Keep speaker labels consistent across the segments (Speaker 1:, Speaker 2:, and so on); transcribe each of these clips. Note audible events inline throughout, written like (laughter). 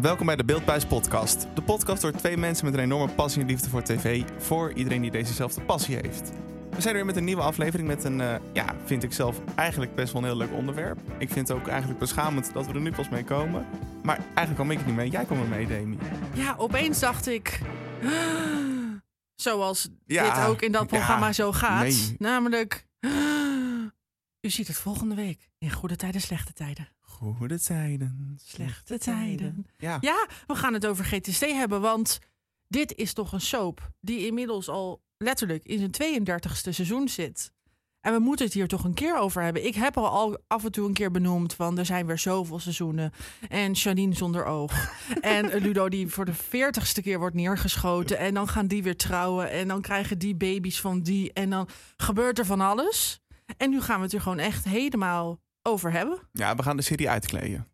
Speaker 1: welkom bij de Beeldbuis podcast. De podcast door twee mensen met een enorme passie en liefde voor tv. Voor iedereen die dezezelfde passie heeft. We zijn er weer met een nieuwe aflevering met een, eh, ja, vind ik zelf eigenlijk best wel een heel leuk onderwerp. Ik vind het ook eigenlijk beschamend dat we er nu pas mee komen. Maar eigenlijk kwam ik er niet mee. Jij kwam er mee, Demi.
Speaker 2: Ja, opeens dacht ik. (gasps) Zoals
Speaker 1: Ja,
Speaker 2: dit ook in dat
Speaker 1: ja,
Speaker 2: programma zo gaat.
Speaker 1: nee.
Speaker 2: Namelijk. (gasps) U ziet het volgende week. In goede tijden, slechte tijden.
Speaker 1: Goede tijden.
Speaker 2: Slechte tijden.
Speaker 1: Ja.
Speaker 2: Ja, we gaan het over GTC hebben. Want dit is toch een soap die inmiddels al letterlijk in zijn 32e seizoen zit. En we moeten het hier toch een keer over hebben. Ik heb al, al af en toe een keer benoemd van er zijn weer zoveel seizoenen. En Janine zonder oog. en Ludo die voor de veertigste keer wordt neergeschoten. En dan gaan die weer trouwen. En dan krijgen die baby's van die. En dan gebeurt er van alles. En nu gaan we het er gewoon echt helemaal over hebben.
Speaker 1: ja, we gaan de serie uitkleden.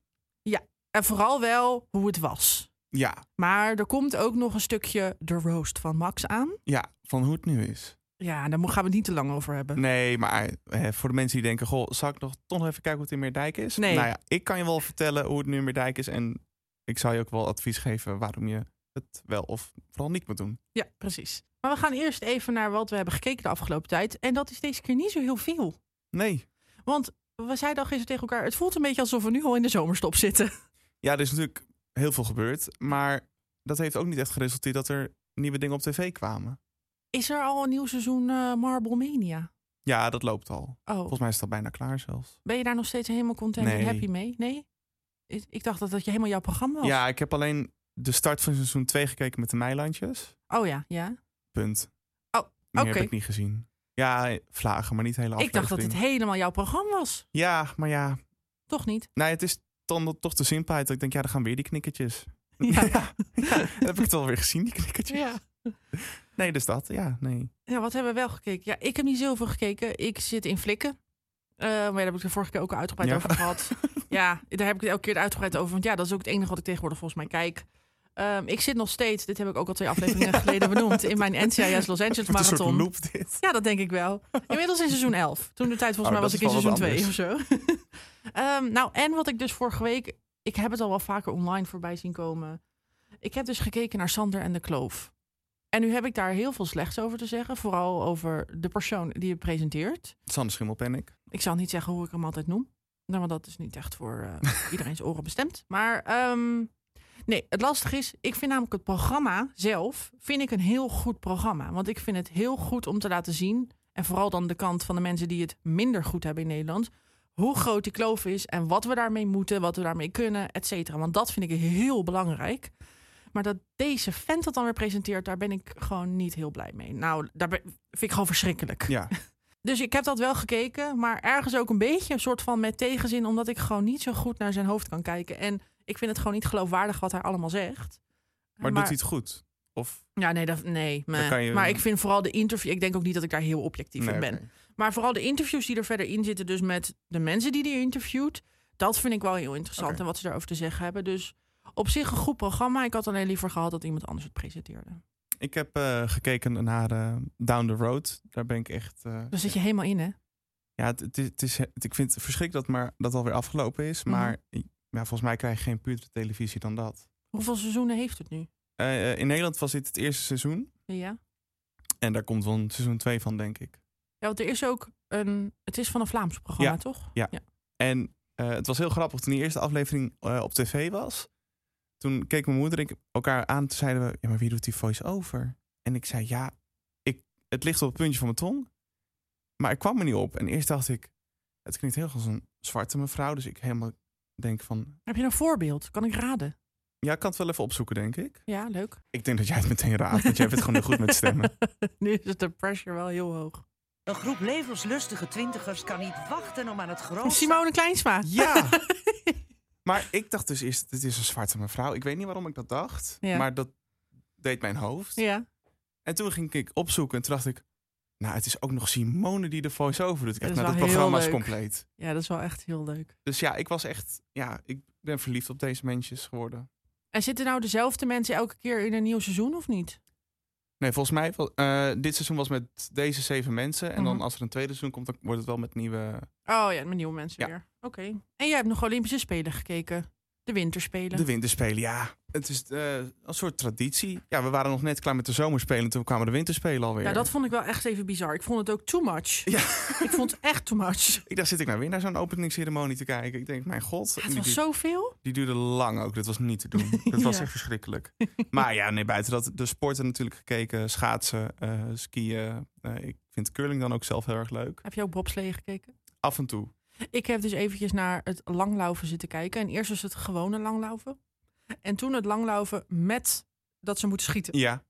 Speaker 2: En vooral wel hoe het was.
Speaker 1: Ja,
Speaker 2: Maar er komt ook nog een stukje de roast van Max aan.
Speaker 1: ja, van hoe het nu is.
Speaker 2: Ja, daar mo- gaan we het niet te lang over
Speaker 1: (laughs)
Speaker 2: hebben.
Speaker 1: Nee, maar eh, voor de mensen die denken: Goh, zal ik nog toch nog even kijken hoe het in Meerdijk is?
Speaker 2: Nee.
Speaker 1: Nou ja, ik kan je wel vertellen hoe het nu in Meerdijk is. En ik zal je ook wel advies geven waarom je het wel of vooral niet moet doen.
Speaker 2: Ja, precies. Maar we gaan eerst even naar wat we hebben gekeken de afgelopen tijd. En dat is deze keer niet zo heel veel.
Speaker 1: Nee.
Speaker 2: Want we zeiden al gisteren tegen elkaar, het voelt een beetje alsof we nu al in de zomerstop zitten. (laughs)
Speaker 1: Ja, er is natuurlijk heel veel gebeurd. Maar dat heeft ook niet echt geresulteerd dat er nieuwe dingen op tv kwamen.
Speaker 2: Is er al een nieuw seizoen eh Marble Mania?
Speaker 1: Ja, dat loopt al.
Speaker 2: Oh,
Speaker 1: Volgens mij is het al bijna klaar zelfs.
Speaker 2: ben je daar nog steeds helemaal content en
Speaker 1: Nee.
Speaker 2: happy mee? Nee? Is- Ik dacht dat dat je helemaal jouw programma was.
Speaker 1: Ja, ik heb alleen de start van seizoen 2 gekeken met de Meilandjes.
Speaker 2: Oh ja, ja.
Speaker 1: Punt.
Speaker 2: Oh,
Speaker 1: Meer
Speaker 2: oké.
Speaker 1: heb ik niet gezien. Ja, eh, vlagen, maar niet hele
Speaker 2: Ik dacht dat dit
Speaker 1: aflevering.
Speaker 2: helemaal jouw programma was.
Speaker 1: Ja, maar ja,
Speaker 2: Toch niet?
Speaker 1: Nee, het is dan toch de simpelheid dat ik denk, ja, dan gaan weer die knikkertjes.
Speaker 2: Ja.
Speaker 1: (laughs) ja, dan heb ik het alweer gezien, die knikkertjes. Nee, dus dat, ja, nee.
Speaker 2: Ja, wat hebben we wel gekeken? Ja, ik heb niet zoveel gekeken. Ik zit in Flikken. Eh, maar daar heb ik de vorige keer ook uitgebreid
Speaker 1: Ja.
Speaker 2: over
Speaker 1: (laughs)
Speaker 2: gehad. ja, daar heb ik het elke keer uitgebreid over. Want ja, dat is ook het enige wat ik tegenwoordig volgens mij kijk. Ehm, ik zit nog steeds, dit heb ik ook al twee
Speaker 1: (laughs)
Speaker 2: afleveringen geleden benoemd, in mijn NCIS Los Angeles
Speaker 1: Met een soort
Speaker 2: marathon.
Speaker 1: loop dit.
Speaker 2: Ja, dat denk ik wel. Inmiddels in seizoen 11. Toen de tijd volgens
Speaker 1: Oh,
Speaker 2: mij
Speaker 1: dat
Speaker 2: was ik in
Speaker 1: is wel
Speaker 2: seizoen
Speaker 1: wat
Speaker 2: 2 of zo. (laughs) Ehm, nou, en wat ik dus vorige week... Ik heb het al wel vaker online voorbij zien komen. Ik heb dus gekeken naar Sander en de Kloof. En nu heb ik daar heel veel slechts over te zeggen. Vooral over de persoon die het presenteert.
Speaker 1: Sander Schimmel ben ik.
Speaker 2: Ik zal niet zeggen hoe ik hem altijd noem. Nou, want dat is niet echt voor eh, iedereen's oren bestemd. Maar ehm, nee, het lastige is, ik vind namelijk het programma zelf vind ik een heel goed programma. Want ik vind het heel goed om te laten zien. En vooral dan de kant van de mensen die het minder goed hebben in Nederland. Hoe groot die kloof is en wat we daarmee moeten, wat we daarmee kunnen, et cetera. Want dat vind ik heel belangrijk. Maar dat deze vent dat dan weer presenteert, daar ben ik gewoon niet heel blij mee. Nou, daar ben- vind ik gewoon verschrikkelijk. (laughs)
Speaker 1: Ja,
Speaker 2: Dus ik heb dat wel gekeken, maar ergens ook een beetje een soort van met tegenzin, omdat ik gewoon niet zo goed naar zijn hoofd kan kijken. En ik vind het gewoon niet geloofwaardig wat hij allemaal zegt.
Speaker 1: maar, doet hij het goed? Of,
Speaker 2: Ja, nee, dat, nee meh.
Speaker 1: kan je-
Speaker 2: maar ik vind vooral de interview, ik denk ook niet dat ik daar heel objectief
Speaker 1: Nee,
Speaker 2: in ben.
Speaker 1: oké.
Speaker 2: Maar vooral de interviews die er verder in zitten, dus met de mensen die die interviewt, dat vind ik wel heel interessant
Speaker 1: Oké.
Speaker 2: en wat ze daarover te zeggen hebben. Dus op zich een goed programma. Ik had alleen liever gehad dat iemand anders het presenteerde.
Speaker 1: Ik heb eh, gekeken naar eh, Down the Road. Daar ben ik echt... eh,
Speaker 2: Daar zit je helemaal in, hè?
Speaker 1: ja, het, het is, het is, het- ik vind het verschrikkelijk dat maar, dat alweer afgelopen is.
Speaker 2: Mhm.
Speaker 1: Maar ja, volgens mij krijg je geen puurdere televisie dan dat.
Speaker 2: Hoeveel seizoenen heeft het nu?
Speaker 1: Eh, eh, in Nederland was dit het eerste seizoen.
Speaker 2: Ja.
Speaker 1: En daar komt wel een seizoen 2 van, denk ik.
Speaker 2: Ja, want er is ook een. Het is van een Vlaams programma,
Speaker 1: Ja.
Speaker 2: toch?
Speaker 1: Ja. En eh, het was heel grappig toen die eerste aflevering eh, op tv was. Toen keek mijn moeder en ik elkaar aan. Toen zeiden we, ja, maar wie doet die voice-over? En ik zei, ja, ik, het ligt op het puntje van mijn tong. Maar ik kwam er niet op. En eerst dacht ik, het klinkt heel erg als een zwarte mevrouw. Dus ik helemaal denk van,
Speaker 2: Heb je een voorbeeld? Kan ik raden?
Speaker 1: ja, ik kan het wel even opzoeken, denk ik.
Speaker 2: Ja, leuk.
Speaker 1: Ik denk dat jij het meteen raadt, want jij bent gewoon heel goed met stemmen.
Speaker 2: (laughs) nu is de pressure wel heel hoog.
Speaker 1: Oh,
Speaker 3: Een groep levenslustige twintigers kan niet wachten om aan het grootste...
Speaker 2: Simone Kleinsma.
Speaker 1: Ja! Maar ik dacht dus eerst, dit is een zwarte mevrouw. Ik weet niet waarom ik dat dacht,
Speaker 2: Ja.
Speaker 1: maar dat deed mijn hoofd.
Speaker 2: (laughs) Ja.
Speaker 1: En toen ging ik opzoeken en toen dacht ik... Nou, het is ook nog Simone die de voice-over doet. Ik
Speaker 2: Dat
Speaker 1: dacht,
Speaker 2: is
Speaker 1: nou, dat
Speaker 2: wel heel
Speaker 1: programma is
Speaker 2: leuk.
Speaker 1: compleet.
Speaker 2: ja, dat is wel echt heel leuk.
Speaker 1: Dus ja, ik was echt... Ja, ik ben verliefd op deze mensjes geworden.
Speaker 2: En zitten nou dezelfde mensen elke keer in een nieuw seizoen of niet?
Speaker 1: Nee, volgens mij... wel- eh, dit seizoen was met deze zeven mensen. En dan
Speaker 2: Mhm.
Speaker 1: als er een tweede seizoen komt, dan wordt het wel met nieuwe...
Speaker 2: Oh ja, met nieuwe mensen
Speaker 1: Ja.
Speaker 2: weer. Oké. En jij hebt nog Olympische Spelen gekeken. de winterspelen.
Speaker 1: De winterspelen, ja. Het is eh, een soort traditie. Ja, we waren nog net klaar met de zomerspelen. Toen kwamen de winterspelen alweer.
Speaker 2: ja, Nou, dat vond ik wel echt even bizar. Ik vond het ook too
Speaker 1: (laughs)
Speaker 2: much.
Speaker 1: Ja.
Speaker 2: Ik vond het echt too much.
Speaker 1: Ik dacht, zit ik nou weer naar zo'n openingsceremonie te kijken? Ik denk, mijn god. En
Speaker 2: Ja, het
Speaker 1: die,
Speaker 2: was zoveel.
Speaker 1: die duurde lang ook. Dat was niet te
Speaker 2: (laughs)
Speaker 1: doen. Dat was
Speaker 2: Ja.
Speaker 1: echt verschrikkelijk. Maar ja, nee, buiten dat. De sporten natuurlijk gekeken. Schaatsen, eh, skiën. Eh, ik vind curling dan ook zelf heel erg leuk.
Speaker 2: Heb je ook bobsleeën gekeken?
Speaker 1: Af en toe.
Speaker 2: Ik heb dus eventjes naar het langlaufen zitten kijken. En eerst was het gewone langlaufen. En toen het langlaufen met dat ze moeten schieten.
Speaker 1: Ja,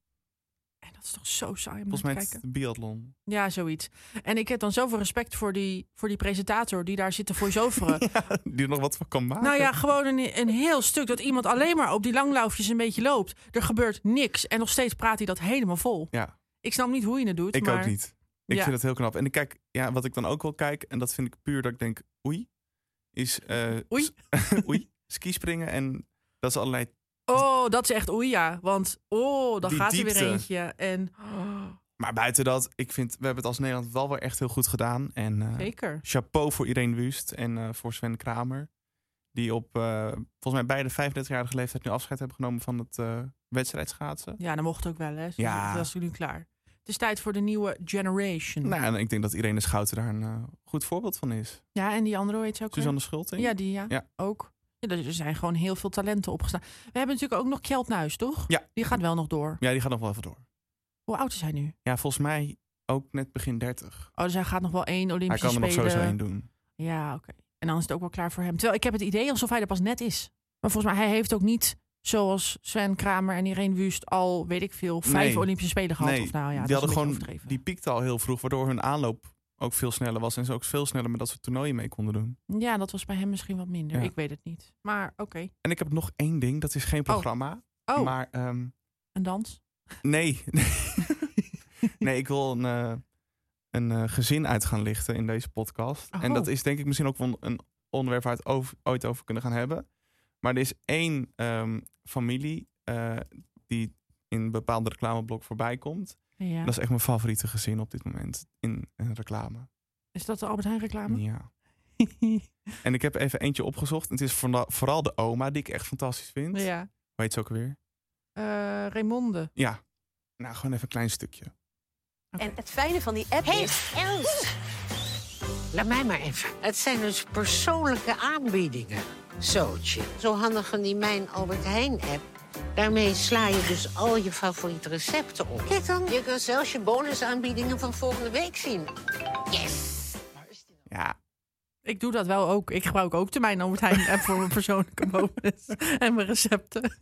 Speaker 2: En dat is toch zo saai om naar
Speaker 1: volgens
Speaker 2: te
Speaker 1: mij
Speaker 2: kijken.
Speaker 1: is het biathlon. (laughs)
Speaker 2: Ja, zoiets. En ik heb dan zoveel respect voor die, voor die presentator die daar zit te voice-overen.
Speaker 1: (laughs) Ja, die er nog wat van kan maken.
Speaker 2: Nou ja, gewoon een, een heel stuk dat iemand alleen maar op die langlaufjes een beetje loopt. Er gebeurt niks. En nog steeds praat hij dat helemaal vol.
Speaker 1: Ja.
Speaker 2: Ik snap niet hoe je het doet.
Speaker 1: Ik
Speaker 2: maar...
Speaker 1: ook niet. Ik
Speaker 2: Ja.
Speaker 1: vind het heel knap. En ik kijk, ja, wat ik dan ook wel kijk, en dat vind ik puur dat ik denk, oei, is eh
Speaker 2: Oei.
Speaker 1: s- (laughs) oei, skispringen en dat is allerlei.
Speaker 2: Oh, dat is echt oei ja. Want oh, dan
Speaker 1: Die
Speaker 2: gaat er weer
Speaker 1: diepte.
Speaker 2: eentje. En
Speaker 1: Maar buiten dat, ik vind, we hebben het als Nederland wel weer echt heel goed gedaan. En eh,
Speaker 2: zeker.
Speaker 1: chapeau voor Irene Wust en eh, voor Sven Kramer, die op eh, volgens mij beide 35-jarige leeftijd nu afscheid hebben genomen van het eh wedstrijdschaatsen.
Speaker 2: Ja, dan mocht ook wel hè. Dus
Speaker 1: Ja.
Speaker 2: Dat is nu klaar. Het is tijd voor de nieuwe generation.
Speaker 1: Nou, en ik denk dat Irene Schouten daar een eh, goed voorbeeld van is.
Speaker 2: Ja, en die andere hoe heet ze ook. weer?
Speaker 1: Suzanne Schulting.
Speaker 2: Ja, die ja.
Speaker 1: Ja.
Speaker 2: Ook. Ja, dus er er zijn gewoon heel veel talenten opgestaan. We hebben natuurlijk ook nog Kjeld Nuis, toch?
Speaker 1: Ja.
Speaker 2: Die gaat wel nog door.
Speaker 1: ja, die gaat nog wel even door.
Speaker 2: Hoe oud is hij nu? Oh,
Speaker 1: Ja, volgens mij ook net begin 30.
Speaker 2: dus hij gaat nog wel één
Speaker 1: Hij
Speaker 2: Olympische
Speaker 1: kan er nog
Speaker 2: Spelen.
Speaker 1: zo zijn doen.
Speaker 2: Ja, oké. En dan is het ook wel klaar voor hem. Terwijl ik heb het idee alsof hij er pas net is. Maar volgens mij, hij heeft ook niet, zoals Sven Kramer en Irene Wust, al, weet ik veel, vijf
Speaker 1: Nee.
Speaker 2: Olympische Spelen gehad.
Speaker 1: Nee,
Speaker 2: of nou ja, dat
Speaker 1: die
Speaker 2: is
Speaker 1: hadden
Speaker 2: een beetje
Speaker 1: gewoon
Speaker 2: overdreven.
Speaker 1: die piekte al heel vroeg, waardoor hun aanloop ook veel sneller was en ze ook veel sneller met dat soort toernooien mee konden doen.
Speaker 2: Ja, dat was bij hem misschien wat minder.
Speaker 1: Ja.
Speaker 2: Ik weet het niet. Maar oké.
Speaker 1: En ik heb nog één ding, dat is geen programma,
Speaker 2: Oh,
Speaker 1: maar ehm,
Speaker 2: een dans.
Speaker 1: nee, (laughs) nee, ik wil een, eh, een eh, gezin uit gaan lichten in deze podcast.
Speaker 2: Oh.
Speaker 1: En dat is denk ik misschien ook wel een onderwerp waar we het over- ooit over kunnen gaan hebben. Maar er is één ehm, familie eh, die in een bepaalde reclameblok voorbij komt.
Speaker 2: Ja.
Speaker 1: Dat is echt mijn favoriete gezin op dit moment in een reclame.
Speaker 2: Is dat de Albert Heijn reclame?
Speaker 1: Ja. En ik heb even eentje opgezocht. En het is voorna- vooral de oma die ik echt fantastisch vind. Weet
Speaker 2: (laughs) ja.
Speaker 1: Hoe heet ze ook alweer?
Speaker 2: Eh Raymonde.
Speaker 1: Ja. Nou, gewoon even een klein stukje.
Speaker 4: En het fijne van die app
Speaker 5: Hey,
Speaker 4: is...
Speaker 5: Els! Laat mij maar even. Het zijn dus persoonlijke aanbiedingen. Zootje. Zo handig van die Mijn Albert Heijn-app. Daarmee sla je dus al je favoriete recepten op. Kijk dan, je kan zelfs je bonusaanbiedingen van volgende week zien.
Speaker 1: Ja.
Speaker 2: Ik doe dat wel ook. Ik gebruik ook de mijn Albert Heijn app voor mijn
Speaker 1: (laughs)
Speaker 2: persoonlijke bonus en mijn recepten.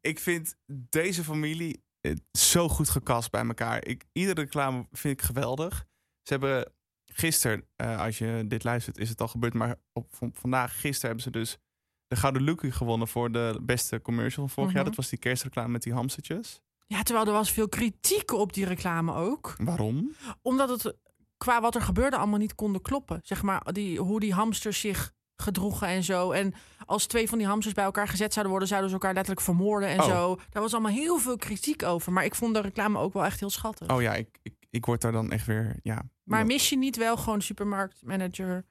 Speaker 1: Ik vind deze familie eh, zo goed gekast bij elkaar. Ik, iedere reclame vind ik geweldig. Ze hebben gisteren, eh, als je dit luistert, is het al gebeurd. Maar op, van- vandaag, gisteren hebben ze dus de Gouden Lucky gewonnen voor de beste commercial van vorig jaar.
Speaker 2: Mhm.
Speaker 1: Dat was die kerstreclame met die hamstertjes.
Speaker 2: Ja, terwijl er was veel kritiek op die reclame ook.
Speaker 1: Waarom?
Speaker 2: Omdat het qua wat er gebeurde allemaal niet konden kloppen. Zeg maar die, hoe die hamsters zich gedroegen en zo. En als twee van die hamsters bij elkaar gezet zouden worden... zouden ze elkaar letterlijk vermoorden en
Speaker 1: Oh.
Speaker 2: zo. Daar was allemaal heel veel kritiek over. Maar ik vond de reclame ook wel echt heel schattig.
Speaker 1: Oh ja, ik, ik, ik word daar dan echt weer. Ja.
Speaker 2: Maar
Speaker 1: Ja.
Speaker 2: mis je niet wel gewoon supermarktmanager...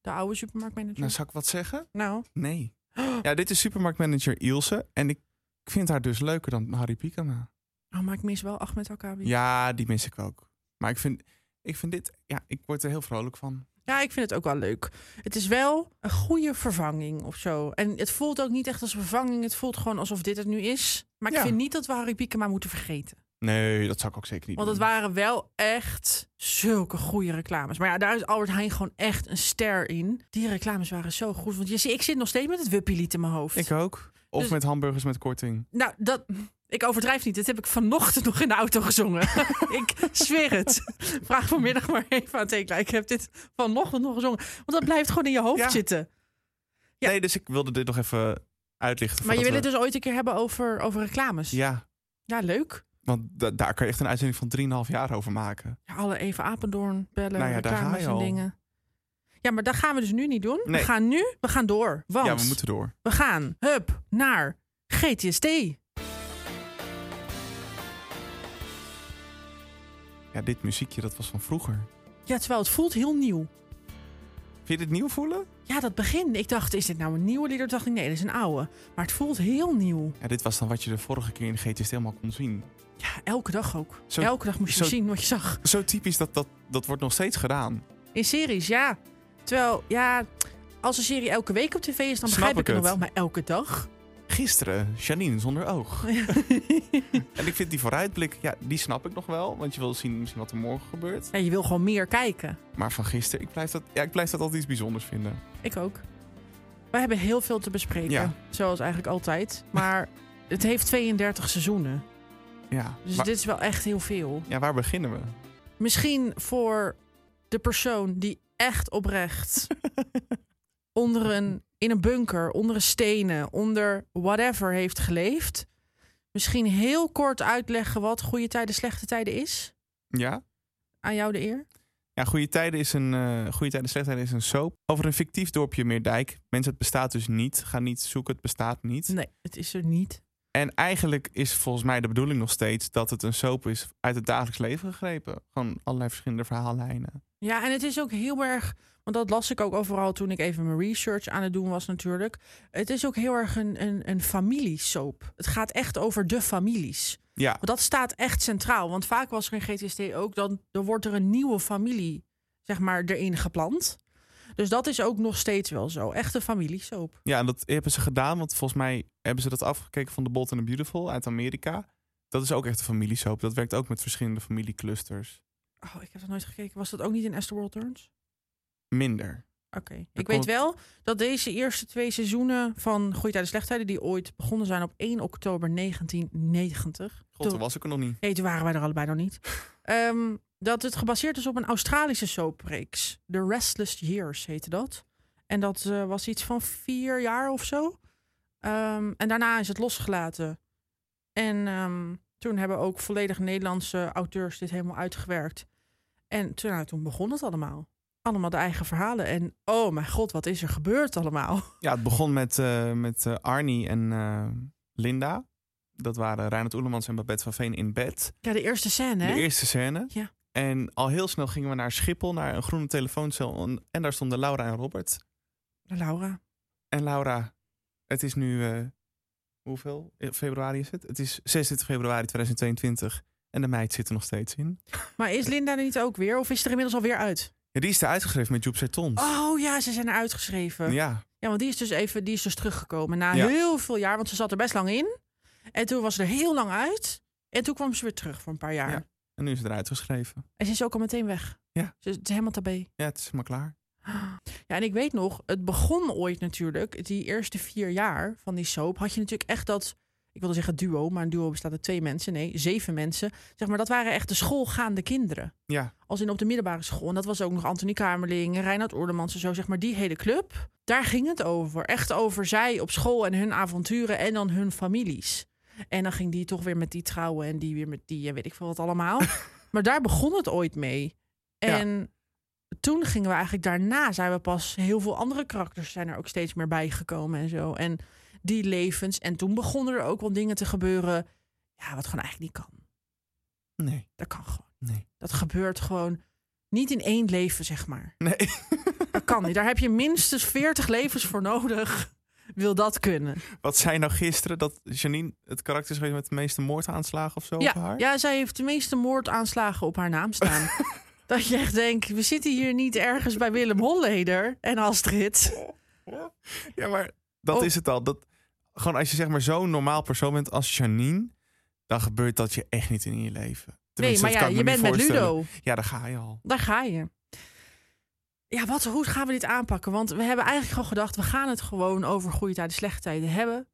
Speaker 2: de oude supermarktmanager?
Speaker 1: nou, zou ik wat zeggen?
Speaker 2: nou...
Speaker 1: Nee. Ja, dit is supermarktmanager Ilse. En ik vind haar dus leuker dan Harry Piekema.
Speaker 2: Oh, maar ik mis wel Ahmed Alkabi.
Speaker 1: Ja, die mis ik ook. Maar ik vind, ik vind dit. Ja, ik word er heel vrolijk van.
Speaker 2: Ja, ik vind het ook wel leuk. Het is wel een goede vervanging of zo. En het voelt ook niet echt als een vervanging. Het voelt gewoon alsof dit het nu is. Maar ik
Speaker 1: Ja.
Speaker 2: vind niet dat we Harry Piekema moeten vergeten.
Speaker 1: Nee, dat zou ik ook zeker niet.
Speaker 2: Want het
Speaker 1: doen.
Speaker 2: waren wel echt zulke goede reclames. Maar ja, daar is Albert Heijn gewoon echt een ster in. Die reclames waren zo goed. Want je ziet, ik zit nog steeds met het wuppielied in mijn hoofd.
Speaker 1: Ik ook. Of
Speaker 2: Dus-
Speaker 1: met hamburgers met korting.
Speaker 2: Nou, dat... Ik overdrijf niet. Dit heb ik vanochtend nog in de auto gezongen. (laughs) ik zweer het. Vraag vanmiddag maar even aan Tekla. Ik heb dit vanochtend nog gezongen. Want dat blijft gewoon in je hoofd
Speaker 1: Ja.
Speaker 2: zitten. Ja.
Speaker 1: Nee, dus ik wilde dit nog even uitlichten.
Speaker 2: Maar je wil
Speaker 1: voordat
Speaker 2: het dus ooit een keer hebben over, over reclames?
Speaker 1: we- Ja,
Speaker 2: Ja, leuk.
Speaker 1: want da- daar kan je echt een uitzending van 3,5 jaar over maken.
Speaker 2: Ja, alle even Apeldoorn bellen,
Speaker 1: Nou ja, daar ga
Speaker 2: reclames
Speaker 1: je
Speaker 2: en
Speaker 1: al.
Speaker 2: dingen. Ja, maar dat gaan we dus nu niet doen.
Speaker 1: Nee.
Speaker 2: We gaan nu, we gaan door. Want
Speaker 1: Ja, we moeten door.
Speaker 2: we gaan, hup, naar GTST.
Speaker 1: Ja, dit muziekje, dat was van vroeger.
Speaker 2: Ja, terwijl het voelt heel nieuw.
Speaker 1: Vind je dit nieuw voelen?
Speaker 2: Ja, dat begin. Ik dacht, is dit nou een nieuwe lieder? Toen dacht ik, nee, dit is een oude. Maar het voelt heel nieuw.
Speaker 1: Ja, dit was dan wat je de vorige keer in GTS helemaal kon zien.
Speaker 2: Ja, elke dag ook.
Speaker 1: Zo-
Speaker 2: elke dag moest je
Speaker 1: zo-
Speaker 2: zien wat je zag.
Speaker 1: Zo typisch, dat, dat, dat wordt nog steeds gedaan.
Speaker 2: In series, ja. Terwijl, ja, als een serie elke week op tv is,
Speaker 1: Snap
Speaker 2: dan begrijp ik,
Speaker 1: ik
Speaker 2: het nog
Speaker 1: het.
Speaker 2: wel. Maar elke dag?
Speaker 1: Gisteren, Janine zonder
Speaker 2: (laughs)
Speaker 1: oog. En ik vind die vooruitblik, ja, die snap ik nog wel. Want je wil zien misschien wat er morgen gebeurt.
Speaker 2: Ja, je wil gewoon meer kijken.
Speaker 1: Maar van gisteren, ik blijf dat, ja, ik blijf dat altijd iets bijzonders vinden.
Speaker 2: Ik ook. We hebben heel veel te bespreken.
Speaker 1: Ja.
Speaker 2: Zoals eigenlijk altijd.
Speaker 1: (laughs)
Speaker 2: Maar het heeft 32 seizoenen.
Speaker 1: Ja,
Speaker 2: Dus
Speaker 1: maar-
Speaker 2: dit is wel echt heel veel.
Speaker 1: ja waar beginnen
Speaker 2: (laughs)
Speaker 1: we?
Speaker 2: Misschien voor de persoon die echt oprecht onder een, in een bunker, onder stenen, onder whatever heeft geleefd. Misschien heel kort uitleggen wat goede tijden, slechte tijden is.
Speaker 1: Ja?
Speaker 2: Aan jou de eer.
Speaker 1: Ja, Goede Tijden is een. eh Goede Tijden, Slechte Tijden is een soap. Over een fictief dorpje Meerdijk. Mensen, het bestaat dus niet. Ga niet zoeken, het bestaat niet.
Speaker 2: Nee, het is er niet.
Speaker 1: En eigenlijk is volgens mij de bedoeling nog steeds dat het een soap is uit het dagelijks leven gegrepen. Gewoon allerlei verschillende verhaallijnen.
Speaker 2: Ja, en het is ook heel erg. Want dat las ik ook overal toen ik even mijn research aan het doen was, natuurlijk. Het is ook heel erg een, een, een familiesoap. Het gaat echt over de families.
Speaker 1: Ja,
Speaker 2: Want dat staat echt centraal. Want vaak was er in GTSD ook dan er wordt er een nieuwe familie, zeg maar, erin geplant. Dus dat is ook nog steeds wel zo. Echte familiesoap.
Speaker 1: ja en dat hebben ze gedaan, want volgens mij hebben ze dat afgekeken van The Bold and the Beautiful uit Amerika. Dat is ook echt een familiesoap. Dat werkt ook met verschillende familieclusters.
Speaker 2: Oh, ik heb dat nooit gekeken. Was dat ook niet in Esther World Turns?
Speaker 1: Minder.
Speaker 2: Oké. Ik weet
Speaker 1: komt-
Speaker 2: wel dat deze eerste twee seizoenen van Goeie Tijden Slechttijden... die ooit begonnen zijn op 1 oktober 1990.
Speaker 1: God,
Speaker 2: Toen-
Speaker 1: dat was ik er nog niet.
Speaker 2: Nee, toen waren wij er allebei nog niet. Ehm, dat het gebaseerd is op een Australische soapreeks. The Restless Years heette dat. En dat eh, was iets van vier jaar of zo. Ehm, en daarna is het losgelaten. En ehm, toen hebben ook volledig Nederlandse auteurs dit helemaal uitgewerkt. En toen, nou, toen begon het allemaal. Allemaal de eigen verhalen. En oh mijn god, wat is er gebeurd allemaal? (laughs)
Speaker 1: Ja, het begon met, eh, met eh, Arnie en eh, Linda. Dat waren Reinhard Oelemans en Babette van Veen in bed.
Speaker 2: Ja, de eerste scène, hè?
Speaker 1: De eerste scène.
Speaker 2: Ja.
Speaker 1: En al heel snel gingen we naar Schiphol, naar een groene telefooncel. En- En daar stonden Laura en Robert.
Speaker 2: Laura.
Speaker 1: En Laura, het is nu, eh, hoeveel? Eh, Februari is het? Het is 26 februari 2022. En de meid zit er nog steeds in.
Speaker 2: Maar is Linda er niet ook weer? Of is ze er inmiddels alweer uit?
Speaker 1: Ja, die is er uitgeschreven met Joep Sertons.
Speaker 2: Oh ja, ze zijn eruit geschreven. Ja.
Speaker 1: Ja,
Speaker 2: want die is dus even, die is dus teruggekomen na
Speaker 1: Ja.
Speaker 2: heel veel jaar, want ze zat er best lang in. En toen was ze er heel lang uit. En toen kwam ze weer terug voor een paar jaar.
Speaker 1: Ja. en nu is het eruit geschreven.
Speaker 2: En ze is ook al meteen weg.
Speaker 1: Ja.
Speaker 2: Ze, ze is helemaal tabé.
Speaker 1: Ja, het is maar klaar.
Speaker 2: Ja, en ik weet nog, het begon ooit natuurlijk, die eerste vier jaar van die soap, had je natuurlijk echt dat, ik wilde zeggen duo, maar een duo bestaat uit twee mensen, nee, zeven mensen. Zeg maar, dat waren echt de schoolgaande kinderen.
Speaker 1: Ja,
Speaker 2: als in op de middelbare school. En dat was ook nog Antonie Kamerling, Reinhard Oerdemans en zo, zeg maar die hele club. Daar ging het over. Echt over zij op school en hun avonturen en dan hun families. En dan ging die toch weer met die trouwen en die weer met die en weet ik veel wat
Speaker 1: (laughs)
Speaker 2: allemaal. maar daar begon het ooit mee.
Speaker 1: Ja.
Speaker 2: En toen gingen we eigenlijk daarna, zijn we pas heel veel andere karakters zijn er ook steeds meer bijgekomen en zo. En die levens. En toen begonnen er ook wel dingen te gebeuren. Ja, wat gewoon eigenlijk niet kan.
Speaker 1: nee,
Speaker 2: Dat kan gewoon.
Speaker 1: nee.
Speaker 2: Dat gebeurt gewoon niet in één leven, zeg maar.
Speaker 1: Nee, (laughs)
Speaker 2: Dat kan niet. Daar heb je minstens 40 levens voor nodig. Wil dat kunnen?
Speaker 1: wat zei nou gisteren dat Janine het karakter is geweest met de meeste moordaanslagen of zo op
Speaker 2: Ja,
Speaker 1: haar?
Speaker 2: ja, zij heeft de meeste moordaanslagen op haar
Speaker 1: (laughs)
Speaker 2: naam staan. dat je echt denkt, we zitten hier niet ergens bij Willem Holleder en Astrid.
Speaker 1: Ja, maar dat
Speaker 2: Oh.
Speaker 1: is het al. Dat, gewoon als je zeg maar zo'n normaal persoon bent als Janine, dan gebeurt dat je echt niet in je leven.
Speaker 2: Nee,
Speaker 1: Tenminste,
Speaker 2: maar
Speaker 1: dat
Speaker 2: ja,
Speaker 1: kan ik
Speaker 2: je
Speaker 1: me
Speaker 2: bent
Speaker 1: niet
Speaker 2: met
Speaker 1: voorstellen.
Speaker 2: Ludo.
Speaker 1: Ja, daar ga je al.
Speaker 2: Daar ga je. Ja, wat, hoe gaan we dit aanpakken? Want we hebben eigenlijk gewoon gedacht, we gaan het gewoon over goede tijden, slechte tijden hebben.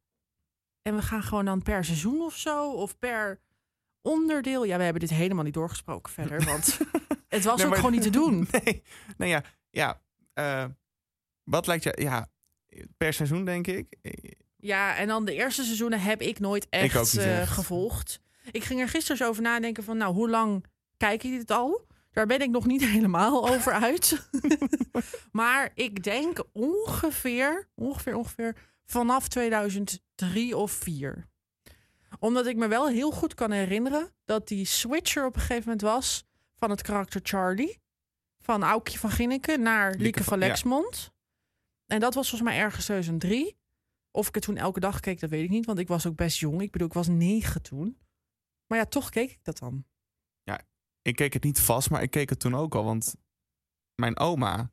Speaker 2: En we gaan gewoon dan per seizoen of zo, of per onderdeel. Ja, we hebben dit helemaal niet doorgesproken
Speaker 1: (laughs)
Speaker 2: verder, want het was
Speaker 1: Nee,
Speaker 2: ook
Speaker 1: maar-
Speaker 2: gewoon niet te doen.
Speaker 1: (laughs) Nee, nou ja, ja. eh, wat lijkt je, ja, per seizoen denk ik.
Speaker 2: Ja, en dan de eerste seizoenen heb ik nooit echt,
Speaker 1: Ik ook niet
Speaker 2: eh,
Speaker 1: echt.
Speaker 2: gevolgd. Ik ging er gisteren zo over nadenken van, nou, hoe lang kijk ik dit al? Daar ben ik nog niet (laughs) helemaal over
Speaker 1: (laughs)
Speaker 2: uit. maar ik denk ongeveer, ongeveer, ongeveer vanaf 2003 of 4. Omdat ik me wel heel goed kan herinneren dat die switcher op een gegeven moment was van het karakter Charlie. Van Aukje van Ginneken naar Lieke,
Speaker 1: Lieke
Speaker 2: van
Speaker 1: van- ja.
Speaker 2: Lexmond. En dat was volgens mij ergens 2003. Of ik het toen elke dag keek, dat weet ik niet. Want ik was ook best jong. Ik bedoel, ik was negen toen. Maar ja, toch keek ik dat dan.
Speaker 1: Ik keek het niet vast, maar ik keek het toen ook al. Want mijn oma,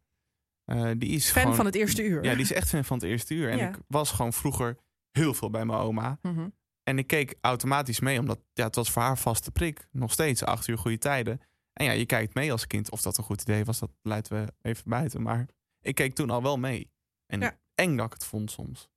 Speaker 1: eh, die is
Speaker 2: Fan
Speaker 1: gewoon-
Speaker 2: van het eerste uur.
Speaker 1: Ja, die is echt fan van het eerste uur. En
Speaker 2: Ja.
Speaker 1: ik was gewoon vroeger heel veel bij mijn oma.
Speaker 2: Mhm.
Speaker 1: En ik keek automatisch mee, omdat ja, het was voor haar vaste prik. Nog steeds, acht uur goede tijden. En ja, je kijkt mee als kind. Of dat een goed idee was, dat laten we even buiten. Maar ik keek toen al wel mee. En
Speaker 2: Ja.
Speaker 1: eng dat ik het vond soms.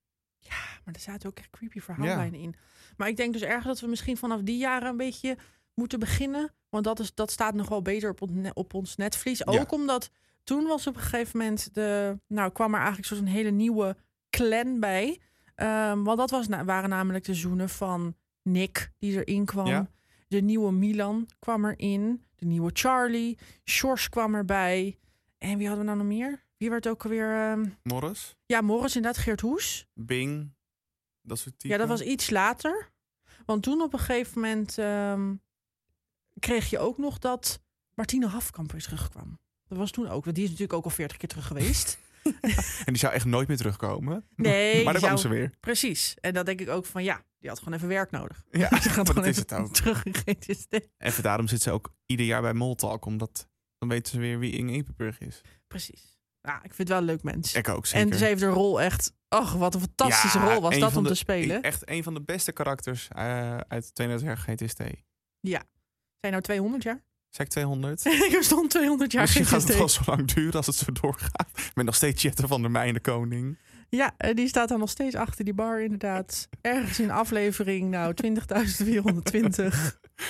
Speaker 2: Maar er zaten ook echt creepy verhaallijnen in. Maar ik denk dus erg dat we misschien vanaf die jaren een beetje moeten beginnen. Want dat, is, dat staat nog wel beter op, on- op ons netvlies. Ook omdat toen was op een gegeven moment de. Nou, kwam er eigenlijk zo'n hele nieuwe clan bij. Ehm, want dat was, na- waren namelijk de zoenen van Nick die erin kwam.
Speaker 1: Ja.
Speaker 2: De nieuwe Milan kwam erin. De nieuwe Charlie. Sjors kwam erbij. En wie hadden we nou nog meer? Wie werd ook alweer. ehm,
Speaker 1: Morris,
Speaker 2: ja, Morris inderdaad, Geert Hoes.
Speaker 1: Bing, dat soort typen.
Speaker 2: Ja, dat was iets later. Want toen op een gegeven moment ehm, kreeg je ook nog dat Martine Hafkamp weer terugkwam. Dat was toen ook. Want die is natuurlijk ook al 40 keer terug
Speaker 1: (laughs)
Speaker 2: geweest.
Speaker 1: En die zou echt nooit meer terugkomen.
Speaker 2: (laughs) Nee,
Speaker 1: maar
Speaker 2: die
Speaker 1: dan kwam
Speaker 2: zou-
Speaker 1: ze
Speaker 2: (laughs)
Speaker 1: weer.
Speaker 2: Precies. En dan denk ik ook van ja, die had gewoon even werk nodig.
Speaker 1: Ja,
Speaker 2: (laughs) Ze gaat
Speaker 1: (laughs) maar
Speaker 2: gewoon
Speaker 1: dat is
Speaker 2: even Dus
Speaker 1: het ook.
Speaker 2: teruggegeten. steen.
Speaker 1: Even daarom zit ze ook ieder jaar bij Moltalk. Omdat dan weten ze weer wie Inge Epenburg is.
Speaker 2: Precies. Ja, ik vind het wel een leuk mens.
Speaker 1: Ik ook, zeker.
Speaker 2: en ze heeft de rol echt... Ach, wat een fantastische
Speaker 1: Ja,
Speaker 2: rol was
Speaker 1: een
Speaker 2: dat
Speaker 1: van
Speaker 2: om
Speaker 1: de- e-
Speaker 2: te spelen.
Speaker 1: Echt een van de beste karakters eh, uit 32 jaar GTST.
Speaker 2: Zijn nou 200 jaar? (laughs)
Speaker 1: Zeg ik 200?
Speaker 2: er stond 200 jaar
Speaker 1: Misschien
Speaker 2: geen
Speaker 1: gaat het wel zo lang duren als het zo doorgaat. Met nog steeds Jette van der Meijden koning.
Speaker 2: Ja, eh, die staat dan nog steeds achter die bar, inderdaad. Ergens in aflevering, nou, 20.420.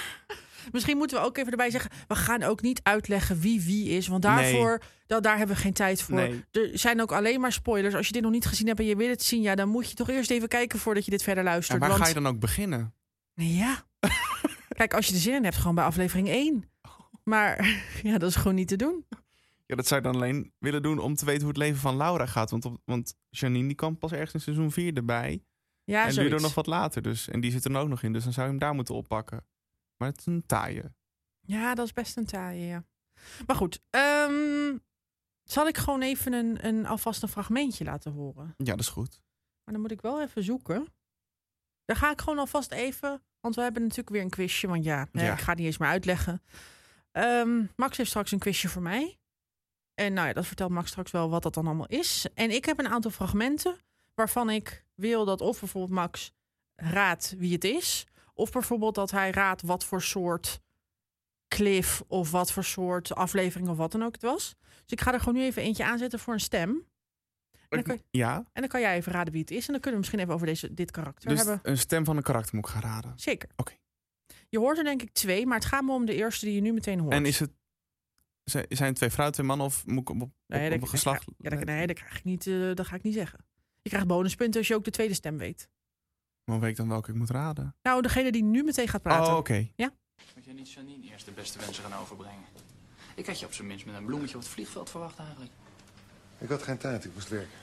Speaker 2: (laughs) Misschien moeten we ook even erbij zeggen... we gaan ook niet uitleggen wie wie is. Want daarvoor, dat, daar hebben we geen tijd voor.
Speaker 1: Nee.
Speaker 2: Er zijn ook alleen maar spoilers. Als je dit nog niet gezien hebt en je wil het zien... ja, dan moet je toch eerst even kijken voordat je dit verder
Speaker 1: En
Speaker 2: luistert.
Speaker 1: waar
Speaker 2: want...
Speaker 1: ga je dan ook beginnen? (laughs)
Speaker 2: Ja. Kijk, als je er zin in hebt, gewoon bij aflevering 1. Maar (laughs) ja, dat is gewoon niet te doen.
Speaker 1: Ja, dat zou ik dan alleen willen doen om te weten hoe het leven van Laura gaat. Want, op- want Janine die kwam pas ergens in seizoen 4 erbij.
Speaker 2: Ja,
Speaker 1: en
Speaker 2: zoiets.
Speaker 1: Ludo nog wat later dus. En die zit er ook nog in. Dus dan zou je hem daar moeten oppakken. Maar het is een taaie.
Speaker 2: Ja, dat is best een taaie, ja. Maar goed, ehm, zal ik gewoon even een, een, alvast een fragmentje laten horen?
Speaker 1: Ja, dat is goed.
Speaker 2: Maar dan moet ik wel even zoeken. Dan ga ik gewoon alvast even, want we hebben natuurlijk weer een quizje. Want ja, hè,
Speaker 1: Ja.
Speaker 2: ik ga het niet eens meer uitleggen. Ehm, Max heeft straks een quizje voor mij. En nou ja, dat vertelt Max straks wel wat dat dan allemaal is. En ik heb een aantal fragmenten waarvan ik wil dat of bijvoorbeeld Max raadt wie het is. Of bijvoorbeeld dat hij raadt wat voor soort cliff of wat voor soort aflevering of wat dan ook het was. Dus ik ga er gewoon nu even eentje aanzetten voor een stem. En dan, kan,
Speaker 1: Ja,
Speaker 2: en dan kan jij even raden wie het is. En dan kunnen we misschien even over deze, dit karakter
Speaker 1: dus
Speaker 2: hebben.
Speaker 1: een stem van een karakter moet ik gaan raden.
Speaker 2: Zeker.
Speaker 1: Oké.
Speaker 2: Je hoort er denk ik twee, maar het gaat me om de eerste die je nu meteen hoort.
Speaker 1: En is het... zijn- Zijn het twee vrouwen, twee mannen of moet ik op, op,
Speaker 2: nee,
Speaker 1: op
Speaker 2: dat-
Speaker 1: een geslacht...
Speaker 2: Ja, dat, nee, dat, krijg ik niet, eh, dat ga ik niet zeggen. Je krijgt bonuspunten als je ook de tweede stem weet.
Speaker 1: Maar weet ik dan welke ik moet raden?
Speaker 2: Nou, degene die nu meteen gaat praten.
Speaker 1: Oh, oké.
Speaker 6: Moet jij niet Janine eerst de beste wensen gaan overbrengen? Ik had je op zijn minst met een bloemetje op het vliegveld verwacht eigenlijk.
Speaker 7: Ik had geen tijd, ik moest werken.